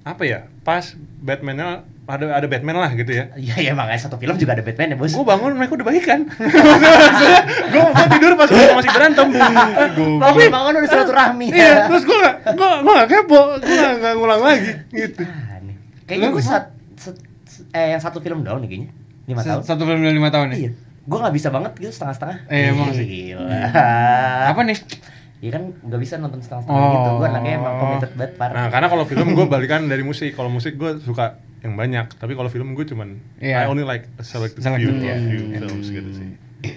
Speaker 4: apa ya pas Batmannya ada ada Batman lah gitu ya
Speaker 2: Iya ya makanya satu film juga ada Batman ya bos.
Speaker 4: gue bangun mereka udah baikan gue gue tidur pas mereka masih berantem
Speaker 2: Tapi emang kan
Speaker 3: Ah,
Speaker 2: udah silaturahmi. Ah,
Speaker 4: iya terus gue gak gue gue gak kepo gue gak, gak ngulang lagi gitu
Speaker 2: Aneh. Kayaknya
Speaker 3: Lu-
Speaker 2: gue sat, set- eh yang satu film doang nih kayaknya. Lima tahun.
Speaker 3: Satu film dalam lima tahun ya.
Speaker 2: Iya. Gue nggak bisa banget gitu setengah-setengah.
Speaker 3: Eh, emang sih.
Speaker 2: Gila.
Speaker 3: Apa nih?
Speaker 2: Iya kan nggak bisa nonton setengah-setengah
Speaker 3: Oh. kan.
Speaker 2: gitu. Gue anaknya emang committed banget
Speaker 4: nah
Speaker 2: parah.
Speaker 4: karena kalau film gue balikan dari musik kalau musik gue suka yang banyak tapi kalau film gue cuman
Speaker 3: Iya.
Speaker 4: I only like a selected,
Speaker 3: Selected,
Speaker 4: few,
Speaker 3: iya.
Speaker 4: few films gitu sih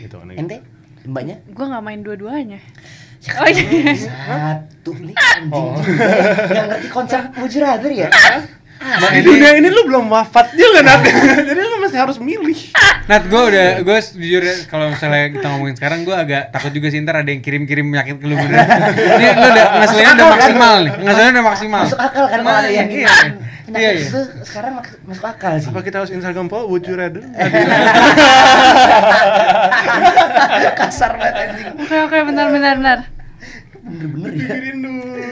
Speaker 4: itu aneh
Speaker 2: Ente mbaknya
Speaker 5: Gue nggak main dua-duanya.
Speaker 2: Ya
Speaker 5: Oh, iya.
Speaker 2: satu nih anjing.
Speaker 3: Oh.
Speaker 2: Nggak ngerti konsep mujurader ya.
Speaker 3: Nah,
Speaker 4: Di dunia ini lu belum wafat juga Nat Jadi lu masih harus milih
Speaker 3: Nat, gue udah, gue jujur ya, kalau misalnya kita ngomongin sekarang, gue agak takut juga sih ntar ada yang kirim-kirim penyakit ke lu bener. Ini lu udah ngeselinnya
Speaker 4: kan?
Speaker 3: udah maksimal nih, ngeselinnya udah maksimal.
Speaker 2: Masuk akal kan kalau ada yang gitu.
Speaker 3: Iya, iya,
Speaker 2: Penyakit
Speaker 3: iya.
Speaker 2: itu sekarang mak- masuk akal sih.
Speaker 4: Apa kita harus Instagram Paul? Would you rather?
Speaker 2: kasar banget anjing
Speaker 5: Oke oke benar benar benar.
Speaker 2: bener-bener ya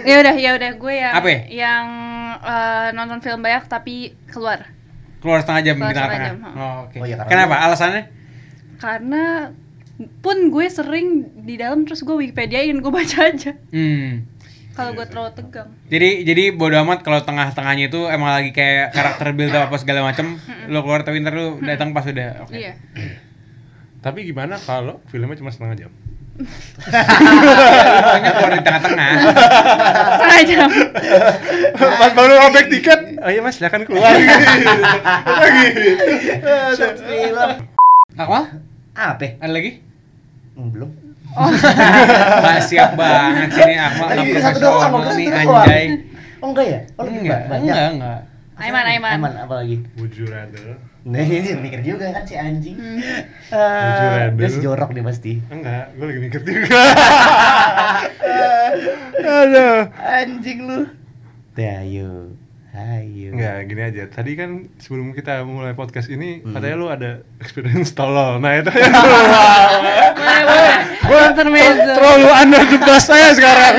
Speaker 5: Ya udah ya udah gue yang
Speaker 3: Apa ya?
Speaker 5: yang eh, nonton film banyak tapi keluar
Speaker 3: Keluar setengah jam di
Speaker 5: Keluar setengah
Speaker 3: tengah-tengah.
Speaker 5: jam, ha.
Speaker 3: Oh, oke.
Speaker 2: Oh, iya, karena-
Speaker 3: Kenapa? Alasannya?
Speaker 5: karena pun gue sering di dalam terus gue Wikipediain gue baca aja
Speaker 3: Hmm.
Speaker 5: kalau gue terlalu tegang.
Speaker 3: Jadi jadi bodo amat kalau tengah-tengahnya itu emang lagi kayak karakter build up apa segala macem Lu keluar tapi ntar lu datang pas udah oke.
Speaker 5: Iya.
Speaker 4: Tapi gimana kalau filmnya cuma setengah jam?
Speaker 3: Pokoknya keluar di tengah-tengah.
Speaker 5: Setengah jam.
Speaker 4: Mas baru robek tiket Oh iya mas silahkan keluar
Speaker 2: short film
Speaker 3: Akmal,
Speaker 2: apa
Speaker 3: ada lagi?
Speaker 2: Hmm, belum
Speaker 3: Nggak siap banget sini Akmal
Speaker 2: Tadi
Speaker 3: nggak
Speaker 2: kita satu doang, Akmal.
Speaker 3: profesional nih
Speaker 2: Satu doang.
Speaker 3: anjay. Iya,
Speaker 2: oh enggak ya oh lebih
Speaker 3: Enggak,
Speaker 2: banyak
Speaker 3: enggak, enggak.
Speaker 5: Aiman Aiman.
Speaker 2: aman apa lagi
Speaker 4: Would you rather?
Speaker 2: nah ini mikir juga kan si anjing
Speaker 5: Hmm.
Speaker 4: Jujur ya,
Speaker 2: Eh, dia
Speaker 4: dulu.
Speaker 2: jorok nih pasti
Speaker 4: Enggak, gue lagi mikir juga Aduh
Speaker 2: anjing lu ayo ayo
Speaker 4: Enggak, gini aja Tadi kan sebelum kita mulai podcast ini
Speaker 2: Hmm.
Speaker 4: Katanya lu ada experience tolol Nah itu
Speaker 5: Boleh boleh. Dr. Mezzo.
Speaker 4: Terlalu under the bus saya sekarang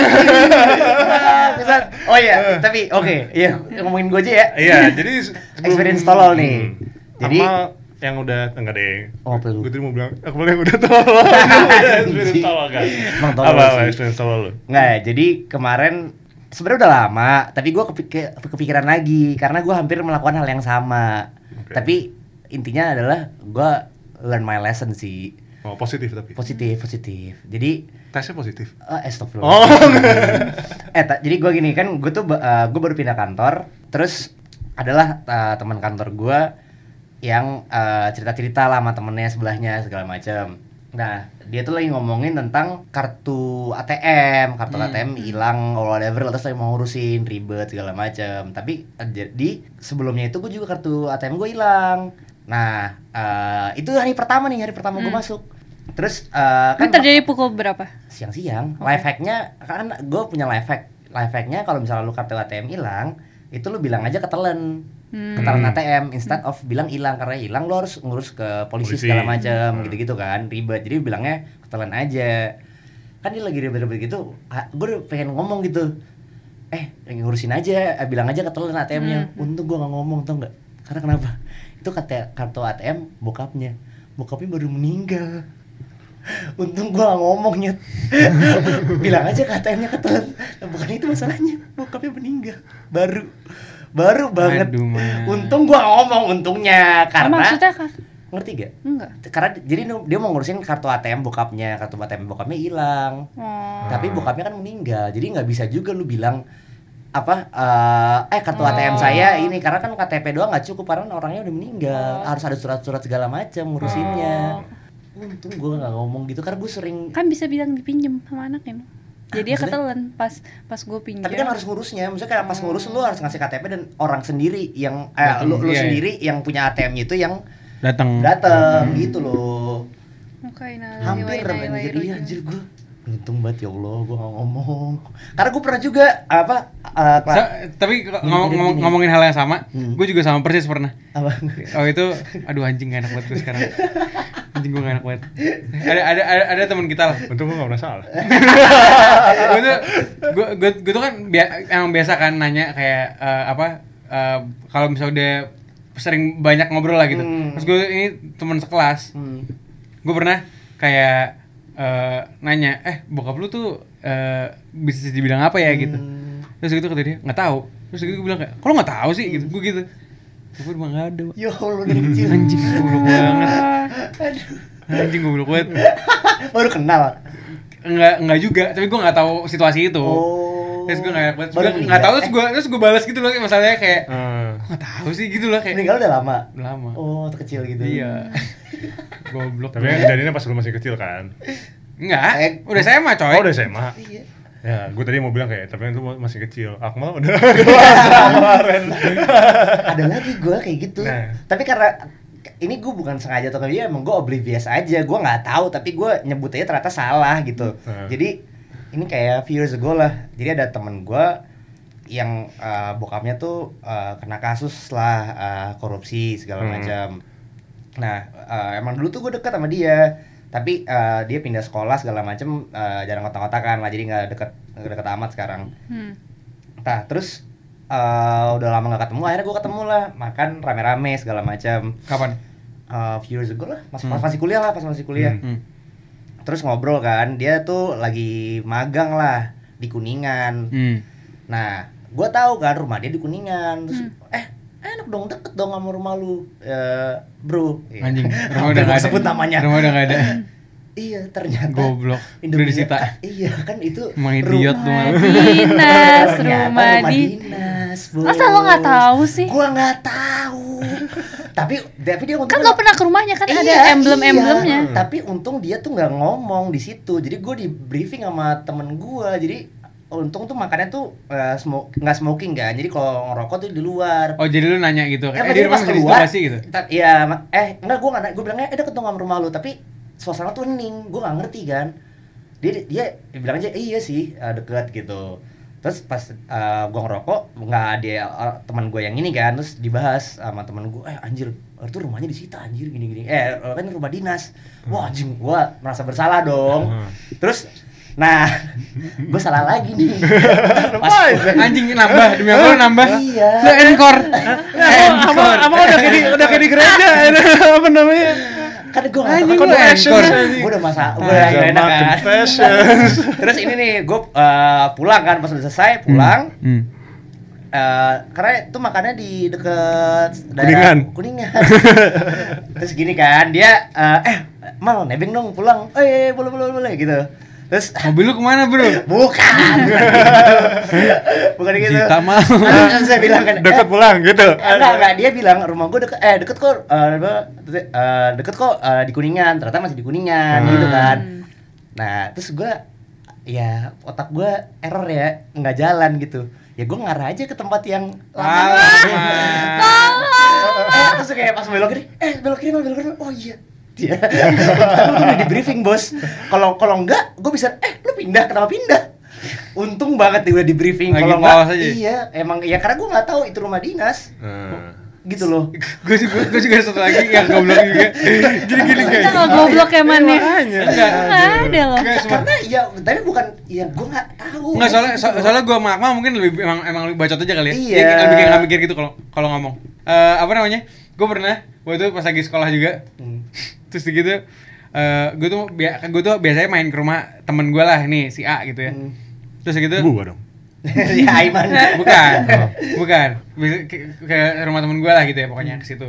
Speaker 2: Ah, kesat. Oh iya, tapi oke, iya ngomongin gue aja ya.
Speaker 4: Iya, jadi sebelum-
Speaker 2: Experience tolol nih. Jadi-
Speaker 4: Akmal yang udah enggak deh.
Speaker 2: Oh, apa lu?
Speaker 4: Gue tadi mau bilang Akmal yang udah tolol. udah experience tolol kan.
Speaker 2: Emang tolol
Speaker 4: Apa, apa
Speaker 2: sih.
Speaker 4: experience tolol lu?
Speaker 2: Nggak, jadi kemarin sebenarnya udah lama, tapi gue kepikiran lagi karena gue hampir melakukan hal yang sama.
Speaker 4: Oke.
Speaker 2: Tapi intinya adalah gue learn my lesson sih.
Speaker 4: Oh, positif tapi.
Speaker 2: Positif, positif. Jadi
Speaker 4: Tesnya positif.
Speaker 2: eh eh, stop dulu.
Speaker 4: Oh.
Speaker 2: eh, ta- jadi gue gini kan, gue tuh gue baru pindah kantor, terus adalah eh, teman kantor gue yang eh, cerita-cerita lah sama temennya sebelahnya segala macam. Nah, dia tuh lagi ngomongin tentang kartu ATM, kartu ATM hilang or whatever, terus lagi mau ngurusin ribet segala macam. Tapi eh, jadi sebelumnya itu gue juga kartu ATM gue hilang. Nah, eh, itu hari pertama nih, hari pertama gue masuk. Terus eh,
Speaker 5: Ini terjadi pukul berapa?
Speaker 2: siang-siang life hacknya kan gue punya life hack life hacknya kalau misalnya lu kartu ATM hilang itu lu bilang aja ketelen
Speaker 5: Hmm.
Speaker 2: ketelen ATM instead of bilang hilang karena hilang lu harus ngurus ke polisi,
Speaker 4: Polisi.
Speaker 2: segala macam gitu-gitu kan ribet jadi bilangnya ketelen aja kan dia lagi ribet-ribet gitu gue pengen ngomong gitu eh ngurusin aja eh, bilang aja ketelen ATM-nya untung gue nggak ngomong tau nggak karena kenapa itu kata kartu ATM bokapnya bokapnya baru meninggal Untung gua gak ngomong nyet Bilang aja KTM-nya ketelan Nah, Bukan itu masalahnya Bokapnya meninggal Baru Baru banget
Speaker 3: Aduh, Man.
Speaker 2: Untung gua gak ngomong untungnya
Speaker 5: Oh,
Speaker 2: Karena
Speaker 5: maksudnya kan?
Speaker 2: Ngerti gak?
Speaker 5: Enggak.
Speaker 2: Karena jadi nu- dia mau ngurusin kartu ATM bokapnya Kartu ATM bokapnya hilang
Speaker 5: Oh.
Speaker 2: Tapi bokapnya kan meninggal Jadi nggak bisa juga lu bilang apa eh, eh kartu ATM saya ini karena kan KTP doang nggak cukup karena orangnya udah meninggal harus ada surat-surat segala macam ngurusinnya untung gua nggak ngomong gitu karena gue sering
Speaker 5: Kan bisa bilang dipinjem sama anaknya. Jadi dia
Speaker 2: Ah, Maksudnya?
Speaker 5: ketelan pas pas gue pinjam.
Speaker 2: Tapi kan harus ngurusnya, maksudnya kayak pas ngurus lu harus ngasih KTP dan orang sendiri yang eh, lu, lu
Speaker 3: Iya, iya.
Speaker 2: sendiri yang punya ATM-nya itu yang
Speaker 3: datang
Speaker 2: dateng
Speaker 3: Hmm.
Speaker 2: gitu loh.
Speaker 5: Oke, nah,
Speaker 2: Hampir
Speaker 5: wa inna
Speaker 2: banget
Speaker 5: ilaihi
Speaker 2: jadi iya,
Speaker 5: raji'un.
Speaker 2: anjir gua untung banget ya Allah gua gak ngomong. Karena gua pernah juga apa eh, kelas
Speaker 3: Sa- tapi kalau ngomong,
Speaker 2: gini,
Speaker 3: ngomong-
Speaker 2: gini.
Speaker 3: ngomongin hal yang sama,
Speaker 2: Hmm.
Speaker 3: gue juga sama persis pernah.
Speaker 2: apa?
Speaker 3: Oh itu, aduh anjing gak enak banget gue sekarang. Anjing gue gak enak banget. Ada ada ada, ada teman kita lah.
Speaker 4: Untung gue gak pernah salah. Eh,
Speaker 3: gue tuh gue gue, gue tuh kan bia- emang biasa kan nanya kayak eh, apa eh, kalau misalnya udah sering banyak ngobrol lah gitu.
Speaker 2: Hmm.
Speaker 3: Terus gue ini teman sekelas,
Speaker 2: Hmm.
Speaker 3: gue pernah kayak eh, nanya, eh bokap lu tuh eh, bisa dibilang apa ya gitu.
Speaker 2: Hmm.
Speaker 3: Terus gitu kata dia nggak tahu. Terus gitu gue bilang kayak, kalau nggak tahu sih gitu, gue gitu. Gue bilang nggak ada. Pak."
Speaker 2: Ya Allah dari kecil
Speaker 3: Anjing gue goblok banget.
Speaker 2: Aduh.
Speaker 3: Anjing gue goblok banget.
Speaker 2: Baru kenal.
Speaker 3: Enggak enggak juga, tapi gue nggak tahu situasi itu.
Speaker 2: Oh.
Speaker 3: Terus gue nggak banget.
Speaker 2: Baru eh.
Speaker 3: Terus gue nggak tahu
Speaker 2: meninggal.
Speaker 3: terus gue terus gue balas gitu loh kayak masalahnya kayak
Speaker 4: Eh,
Speaker 3: "Kok nggak tahu sih gitu loh
Speaker 2: Eh,
Speaker 3: kayak
Speaker 2: Meninggal udah lama.
Speaker 3: "Udah lama.
Speaker 2: Oh, waktu kecil gitu.
Speaker 3: Iya. Goblok.
Speaker 4: tapi kan kejadiannya pas lu masih kecil kan.
Speaker 3: Enggak,
Speaker 2: Eh,
Speaker 3: udah saya mah coy.
Speaker 4: Oh, udah SMA.
Speaker 2: Iya.
Speaker 4: Ya, gue tadi mau bilang kayak, tapi kan lu masih kecil. Akmal udah.
Speaker 2: ada lagi gue kayak gitu
Speaker 4: Nah.
Speaker 2: tapi karena ini gue bukan sengaja atau dia emang gue oblivious aja gue nggak tahu tapi gue nyebut aja ternyata salah gitu
Speaker 4: Nah.
Speaker 2: jadi ini kayak few years ago lah jadi ada temen gue yang eh, bokapnya tuh eh, kena kasus lah eh, korupsi segala
Speaker 4: Hmm.
Speaker 2: macam nah eh, emang dulu tuh gue deket sama dia tapi eh, dia pindah sekolah segala macam eh, jarang kotak-kotakan lah jadi nggak deket nggak deket amat sekarang
Speaker 5: Hmm.
Speaker 2: Nah, terus eh, udah lama gak ketemu, akhirnya gue ketemu lah, makan rame-rame segala macam.
Speaker 3: Kapan?
Speaker 2: Eh, few years ago lah, pas, pas masih kuliah lah, pas masih kuliah.
Speaker 3: Hmm.
Speaker 2: Terus ngobrol kan, dia tuh lagi magang lah di Kuningan.
Speaker 3: Hmm.
Speaker 2: Nah, gue tahu kan rumah dia di Kuningan. Terus, eh enak dong deket dong sama rumah lu, eh, bro. Iya.
Speaker 3: Anjing, rumah
Speaker 2: Hampir
Speaker 3: udah
Speaker 2: gua
Speaker 3: nggak ada.
Speaker 2: sebut namanya.
Speaker 3: Rumah udah nggak ada.
Speaker 2: Iya, ternyata.
Speaker 3: Goblok. Udah
Speaker 2: Indonesia-
Speaker 3: disita.
Speaker 2: Iya, kan itu
Speaker 3: Emang
Speaker 2: ru-
Speaker 3: idiot tuh.
Speaker 5: Rumah dinas,
Speaker 2: Ternyata
Speaker 5: rumah di.
Speaker 2: dinas, bos.
Speaker 5: Masa lo nggak tahu sih?
Speaker 2: Gua nggak tahu. tapi tapi dia
Speaker 5: Kan
Speaker 2: untungnya-
Speaker 5: lo pernah ke rumahnya kan ada
Speaker 2: Iya,
Speaker 5: emblem-emblemnya.
Speaker 2: iya. Tapi untung dia tuh nggak ngomong di situ. Jadi gue di briefing sama temen gue. Jadi untung tuh makannya tuh eh, smoke nggak smoking kan. Jadi kalau ngerokok tuh di luar.
Speaker 3: Oh, jadi lu nanya gitu.
Speaker 2: Eh,
Speaker 3: Eh, di rumah
Speaker 2: pas
Speaker 3: jadi
Speaker 2: keluar,
Speaker 3: situasi gitu.
Speaker 2: ta- Iya, ma- eh enggak gue nggak, gue bilangnya ada ketemu sama rumah lu, tapi suasana tuh hening, gue nggak ngerti kan. Dia dia bilang aja iya sih eh, deket gitu. Terus pas eh, gue ngerokok nggak ada eh, teman gue yang ini kan, terus dibahas sama teman gue, eh anjir itu rumahnya disita anjir eh,
Speaker 3: Hmm.
Speaker 2: gini gini, eh kan rumah dinas. Wah anjing gue merasa bersalah dong.
Speaker 4: Hmm.
Speaker 2: Terus Nah, gue salah lagi nih. Pas
Speaker 3: Anjing nambah demi apa lu nambah? eh,
Speaker 2: Iya. Nah,
Speaker 3: Lu encore.
Speaker 6: Sama sama udah kayak di udah kayak di gereja apa namanya?
Speaker 2: kan gue nggak
Speaker 3: Anjing
Speaker 2: tahu
Speaker 3: lu encore.
Speaker 2: gue udah masa gue udah nggak enak
Speaker 4: Agama
Speaker 2: kan.
Speaker 4: confessions.
Speaker 2: Terus ini nih gue pulang kan pas udah selesai pulang.
Speaker 3: Hmm.
Speaker 2: Eh, karena itu makannya di deket
Speaker 6: Kuningan.
Speaker 2: Kuningan. Terus gini kan dia eh, eh mal nebeng dong pulang. Eh boleh boleh boleh gitu. Terus
Speaker 3: Mobil lu
Speaker 2: Iya.
Speaker 3: kemana bro?
Speaker 2: bukan gitu. bukan gitu.
Speaker 3: Jita mal.
Speaker 2: Terus saya bilang kan eh,
Speaker 6: Dekat pulang gitu.
Speaker 2: enggak enggak dia bilang rumah gue deket eh deket kok eh, apa, eh, deket kok eh, di kuningan ternyata masih di kuningan gitu kan nah terus gue ya otak gue error ya nggak jalan gitu ya gue ngarah aja ke tempat yang lama
Speaker 3: Alamak.
Speaker 2: eh, terus kayak pas belok kiri eh belok kiri Mal, belok kiri oh iya dia Tapi gue udah di briefing bos kalau kalau enggak gue bisa eh lu pindah kenapa pindah untung banget gue di briefing
Speaker 3: Lagi
Speaker 2: kalau
Speaker 3: polos
Speaker 2: enggak
Speaker 3: aja.
Speaker 2: iya emang ya karena gue nggak tahu itu rumah dinas
Speaker 4: Nah.
Speaker 2: gitu loh
Speaker 3: Gue juga, gue juga ada satu lagi yang goblok juga. Jadi gini guys.
Speaker 5: Kita
Speaker 2: Iya.
Speaker 5: nggak goblok ya man ya?
Speaker 3: Enggak.
Speaker 5: Nggak ada loh.
Speaker 3: Enggak, cuma-
Speaker 2: karena ya tapi bukan ya gue nggak tahu Gitu.
Speaker 3: Enggak soalnya so- soalnya gua sama Akmal mungkin lebih emang emang lebih bacot aja kali ya.
Speaker 2: Iya.
Speaker 3: Dia lebih kayak nggak mikir gitu kalau kalau ngomong. Eh apa namanya? Gua pernah waktu itu pas lagi sekolah juga.
Speaker 2: Hmm.
Speaker 3: Terus gitu eh gua tuh bia- gua tuh biasanya main ke rumah temen gua lah nih si A gitu ya.
Speaker 2: Hmm.
Speaker 3: Terus gitu
Speaker 4: Eh, Gua dong.
Speaker 2: ya Aiman
Speaker 3: bukan bukan Bisa- ke, ke rumah temen gue lah gitu ya pokoknya ke situ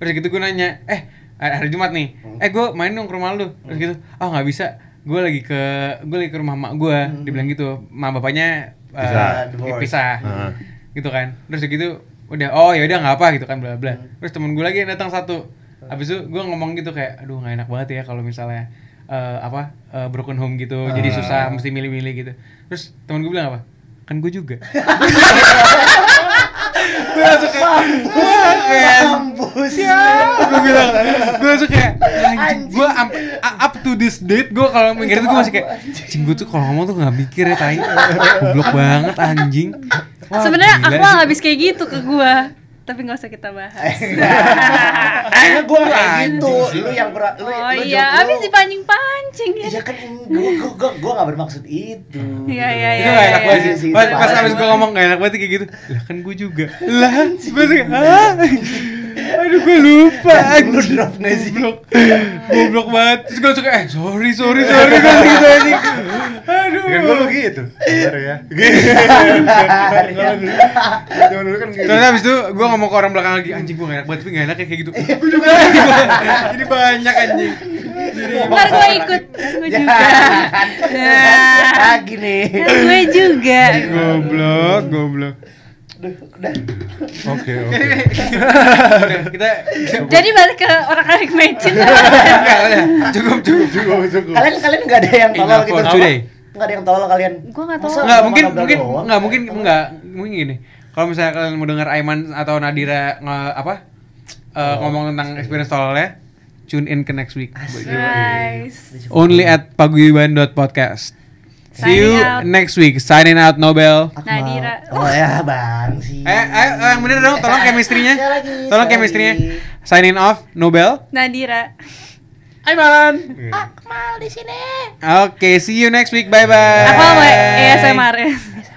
Speaker 3: terus gitu gue nanya eh hari Jumat nih eh gue main dong ke rumah lu terus gitu ah nggak bisa gue lagi ke gue lagi ke rumah mak gue dibilang gitu mak bapaknya eh,
Speaker 4: Pisah.
Speaker 2: Divorce.
Speaker 3: pisah
Speaker 4: Heeh.
Speaker 3: gitu kan terus gitu udah oh ya udah nggak apa gitu kan bla bla terus temen gue lagi yang datang satu abis itu gue ngomong gitu kayak aduh nggak enak banget ya kalau misalnya eh, apa eh, broken home gitu jadi susah mesti milih-milih gitu terus temen gue bilang apa kan gue juga gue langsung kayak "Wah, kayak-
Speaker 2: kampus
Speaker 3: ya, gue bilang gue langsung kayak anjing gue up, up to this date gue kalau mikir itu gue masih kayak anjing gue tuh kalau ngomong tuh nggak mikir ya tai goblok banget anjing Wah,
Speaker 5: Sebenarnya
Speaker 3: gila
Speaker 5: aku
Speaker 3: sih.
Speaker 5: habis kayak gitu ke gua, tapi nggak usah kita bahas.
Speaker 2: karena gue kayak gitu lu yang kurang lu
Speaker 5: Oh
Speaker 2: lu
Speaker 5: iya,
Speaker 2: jomblo.
Speaker 5: habis dipancing-pancing
Speaker 2: Iya
Speaker 5: ya.
Speaker 2: kan gue gue gue gue gak bermaksud itu.
Speaker 5: Iya, iya,
Speaker 3: itu
Speaker 5: iya,
Speaker 3: gak enak
Speaker 5: iya,
Speaker 3: banget
Speaker 5: iya.
Speaker 3: sih
Speaker 2: Itu
Speaker 3: pas, pas
Speaker 2: parah.
Speaker 3: abis gue ngomong gak enak banget kayak gitu lah kan gue juga lah gue sih ah aduh gue lupa
Speaker 2: Lu
Speaker 3: anjing
Speaker 2: drop gak sih?
Speaker 3: goblok goblok banget terus gue langsung kayak, eh sorry sorry sorry gue gitu anjing aduh
Speaker 4: Kan gua lu gitu. Bener ya. Zaman dulu kan gitu.
Speaker 3: Terus abis itu gue ngomong ke orang belakang lagi anjing gue gak enak banget tapi gak enak ya kayak gitu. Gue juga. Jadi banyak anjing. Jadi
Speaker 5: Ntar gue ikut, gue
Speaker 2: Ya,
Speaker 5: juga.
Speaker 2: kan.
Speaker 5: Nah.
Speaker 2: Lagi nih.
Speaker 5: Ntar gue juga.
Speaker 3: goblok, goblok.
Speaker 2: Aduh, udah.
Speaker 4: Oke, oke.
Speaker 3: Udah, kita
Speaker 5: Jadi balik ke orang karik mecin.
Speaker 3: Enggak, udah. cukup cukup.
Speaker 4: Cukup, cukup.
Speaker 2: Kalian kalian nggak ada yang tolol
Speaker 3: Enough
Speaker 2: gitu?
Speaker 3: for today.
Speaker 2: Nggak ada yang tolol kalian?
Speaker 5: Gua nggak tolol.
Speaker 2: Masa
Speaker 3: Enggak
Speaker 2: orang
Speaker 3: mungkin
Speaker 2: ngobrol
Speaker 3: mungkin
Speaker 2: doang?
Speaker 3: enggak mungkin enggak mungkin gini. Kalau misalnya kalian mau dengar Aiman atau Nadira nge- apa eh, ngomong tentang experience tololnya, tune in ke next week.
Speaker 5: Nice.
Speaker 3: Only at paguyuban.podcast. See you
Speaker 5: Signing out.
Speaker 3: next week. Signing out Nobel.
Speaker 2: Akmal.
Speaker 5: Nadira.
Speaker 2: Oh ya bang sih.
Speaker 3: Eh, ayo, ayo, yang bener dong, tolong chemistry-nya.
Speaker 2: Sekali lagi,
Speaker 3: Tolong
Speaker 2: sekali
Speaker 3: chemistry-nya.
Speaker 2: lagi.
Speaker 3: Sign in off, Nobel.
Speaker 5: Nadira.
Speaker 3: Aiman.
Speaker 4: Iya.
Speaker 5: Akmal di sini.
Speaker 3: Oke, see you next week. Bye bye.
Speaker 5: Akmal mau ASMR ya.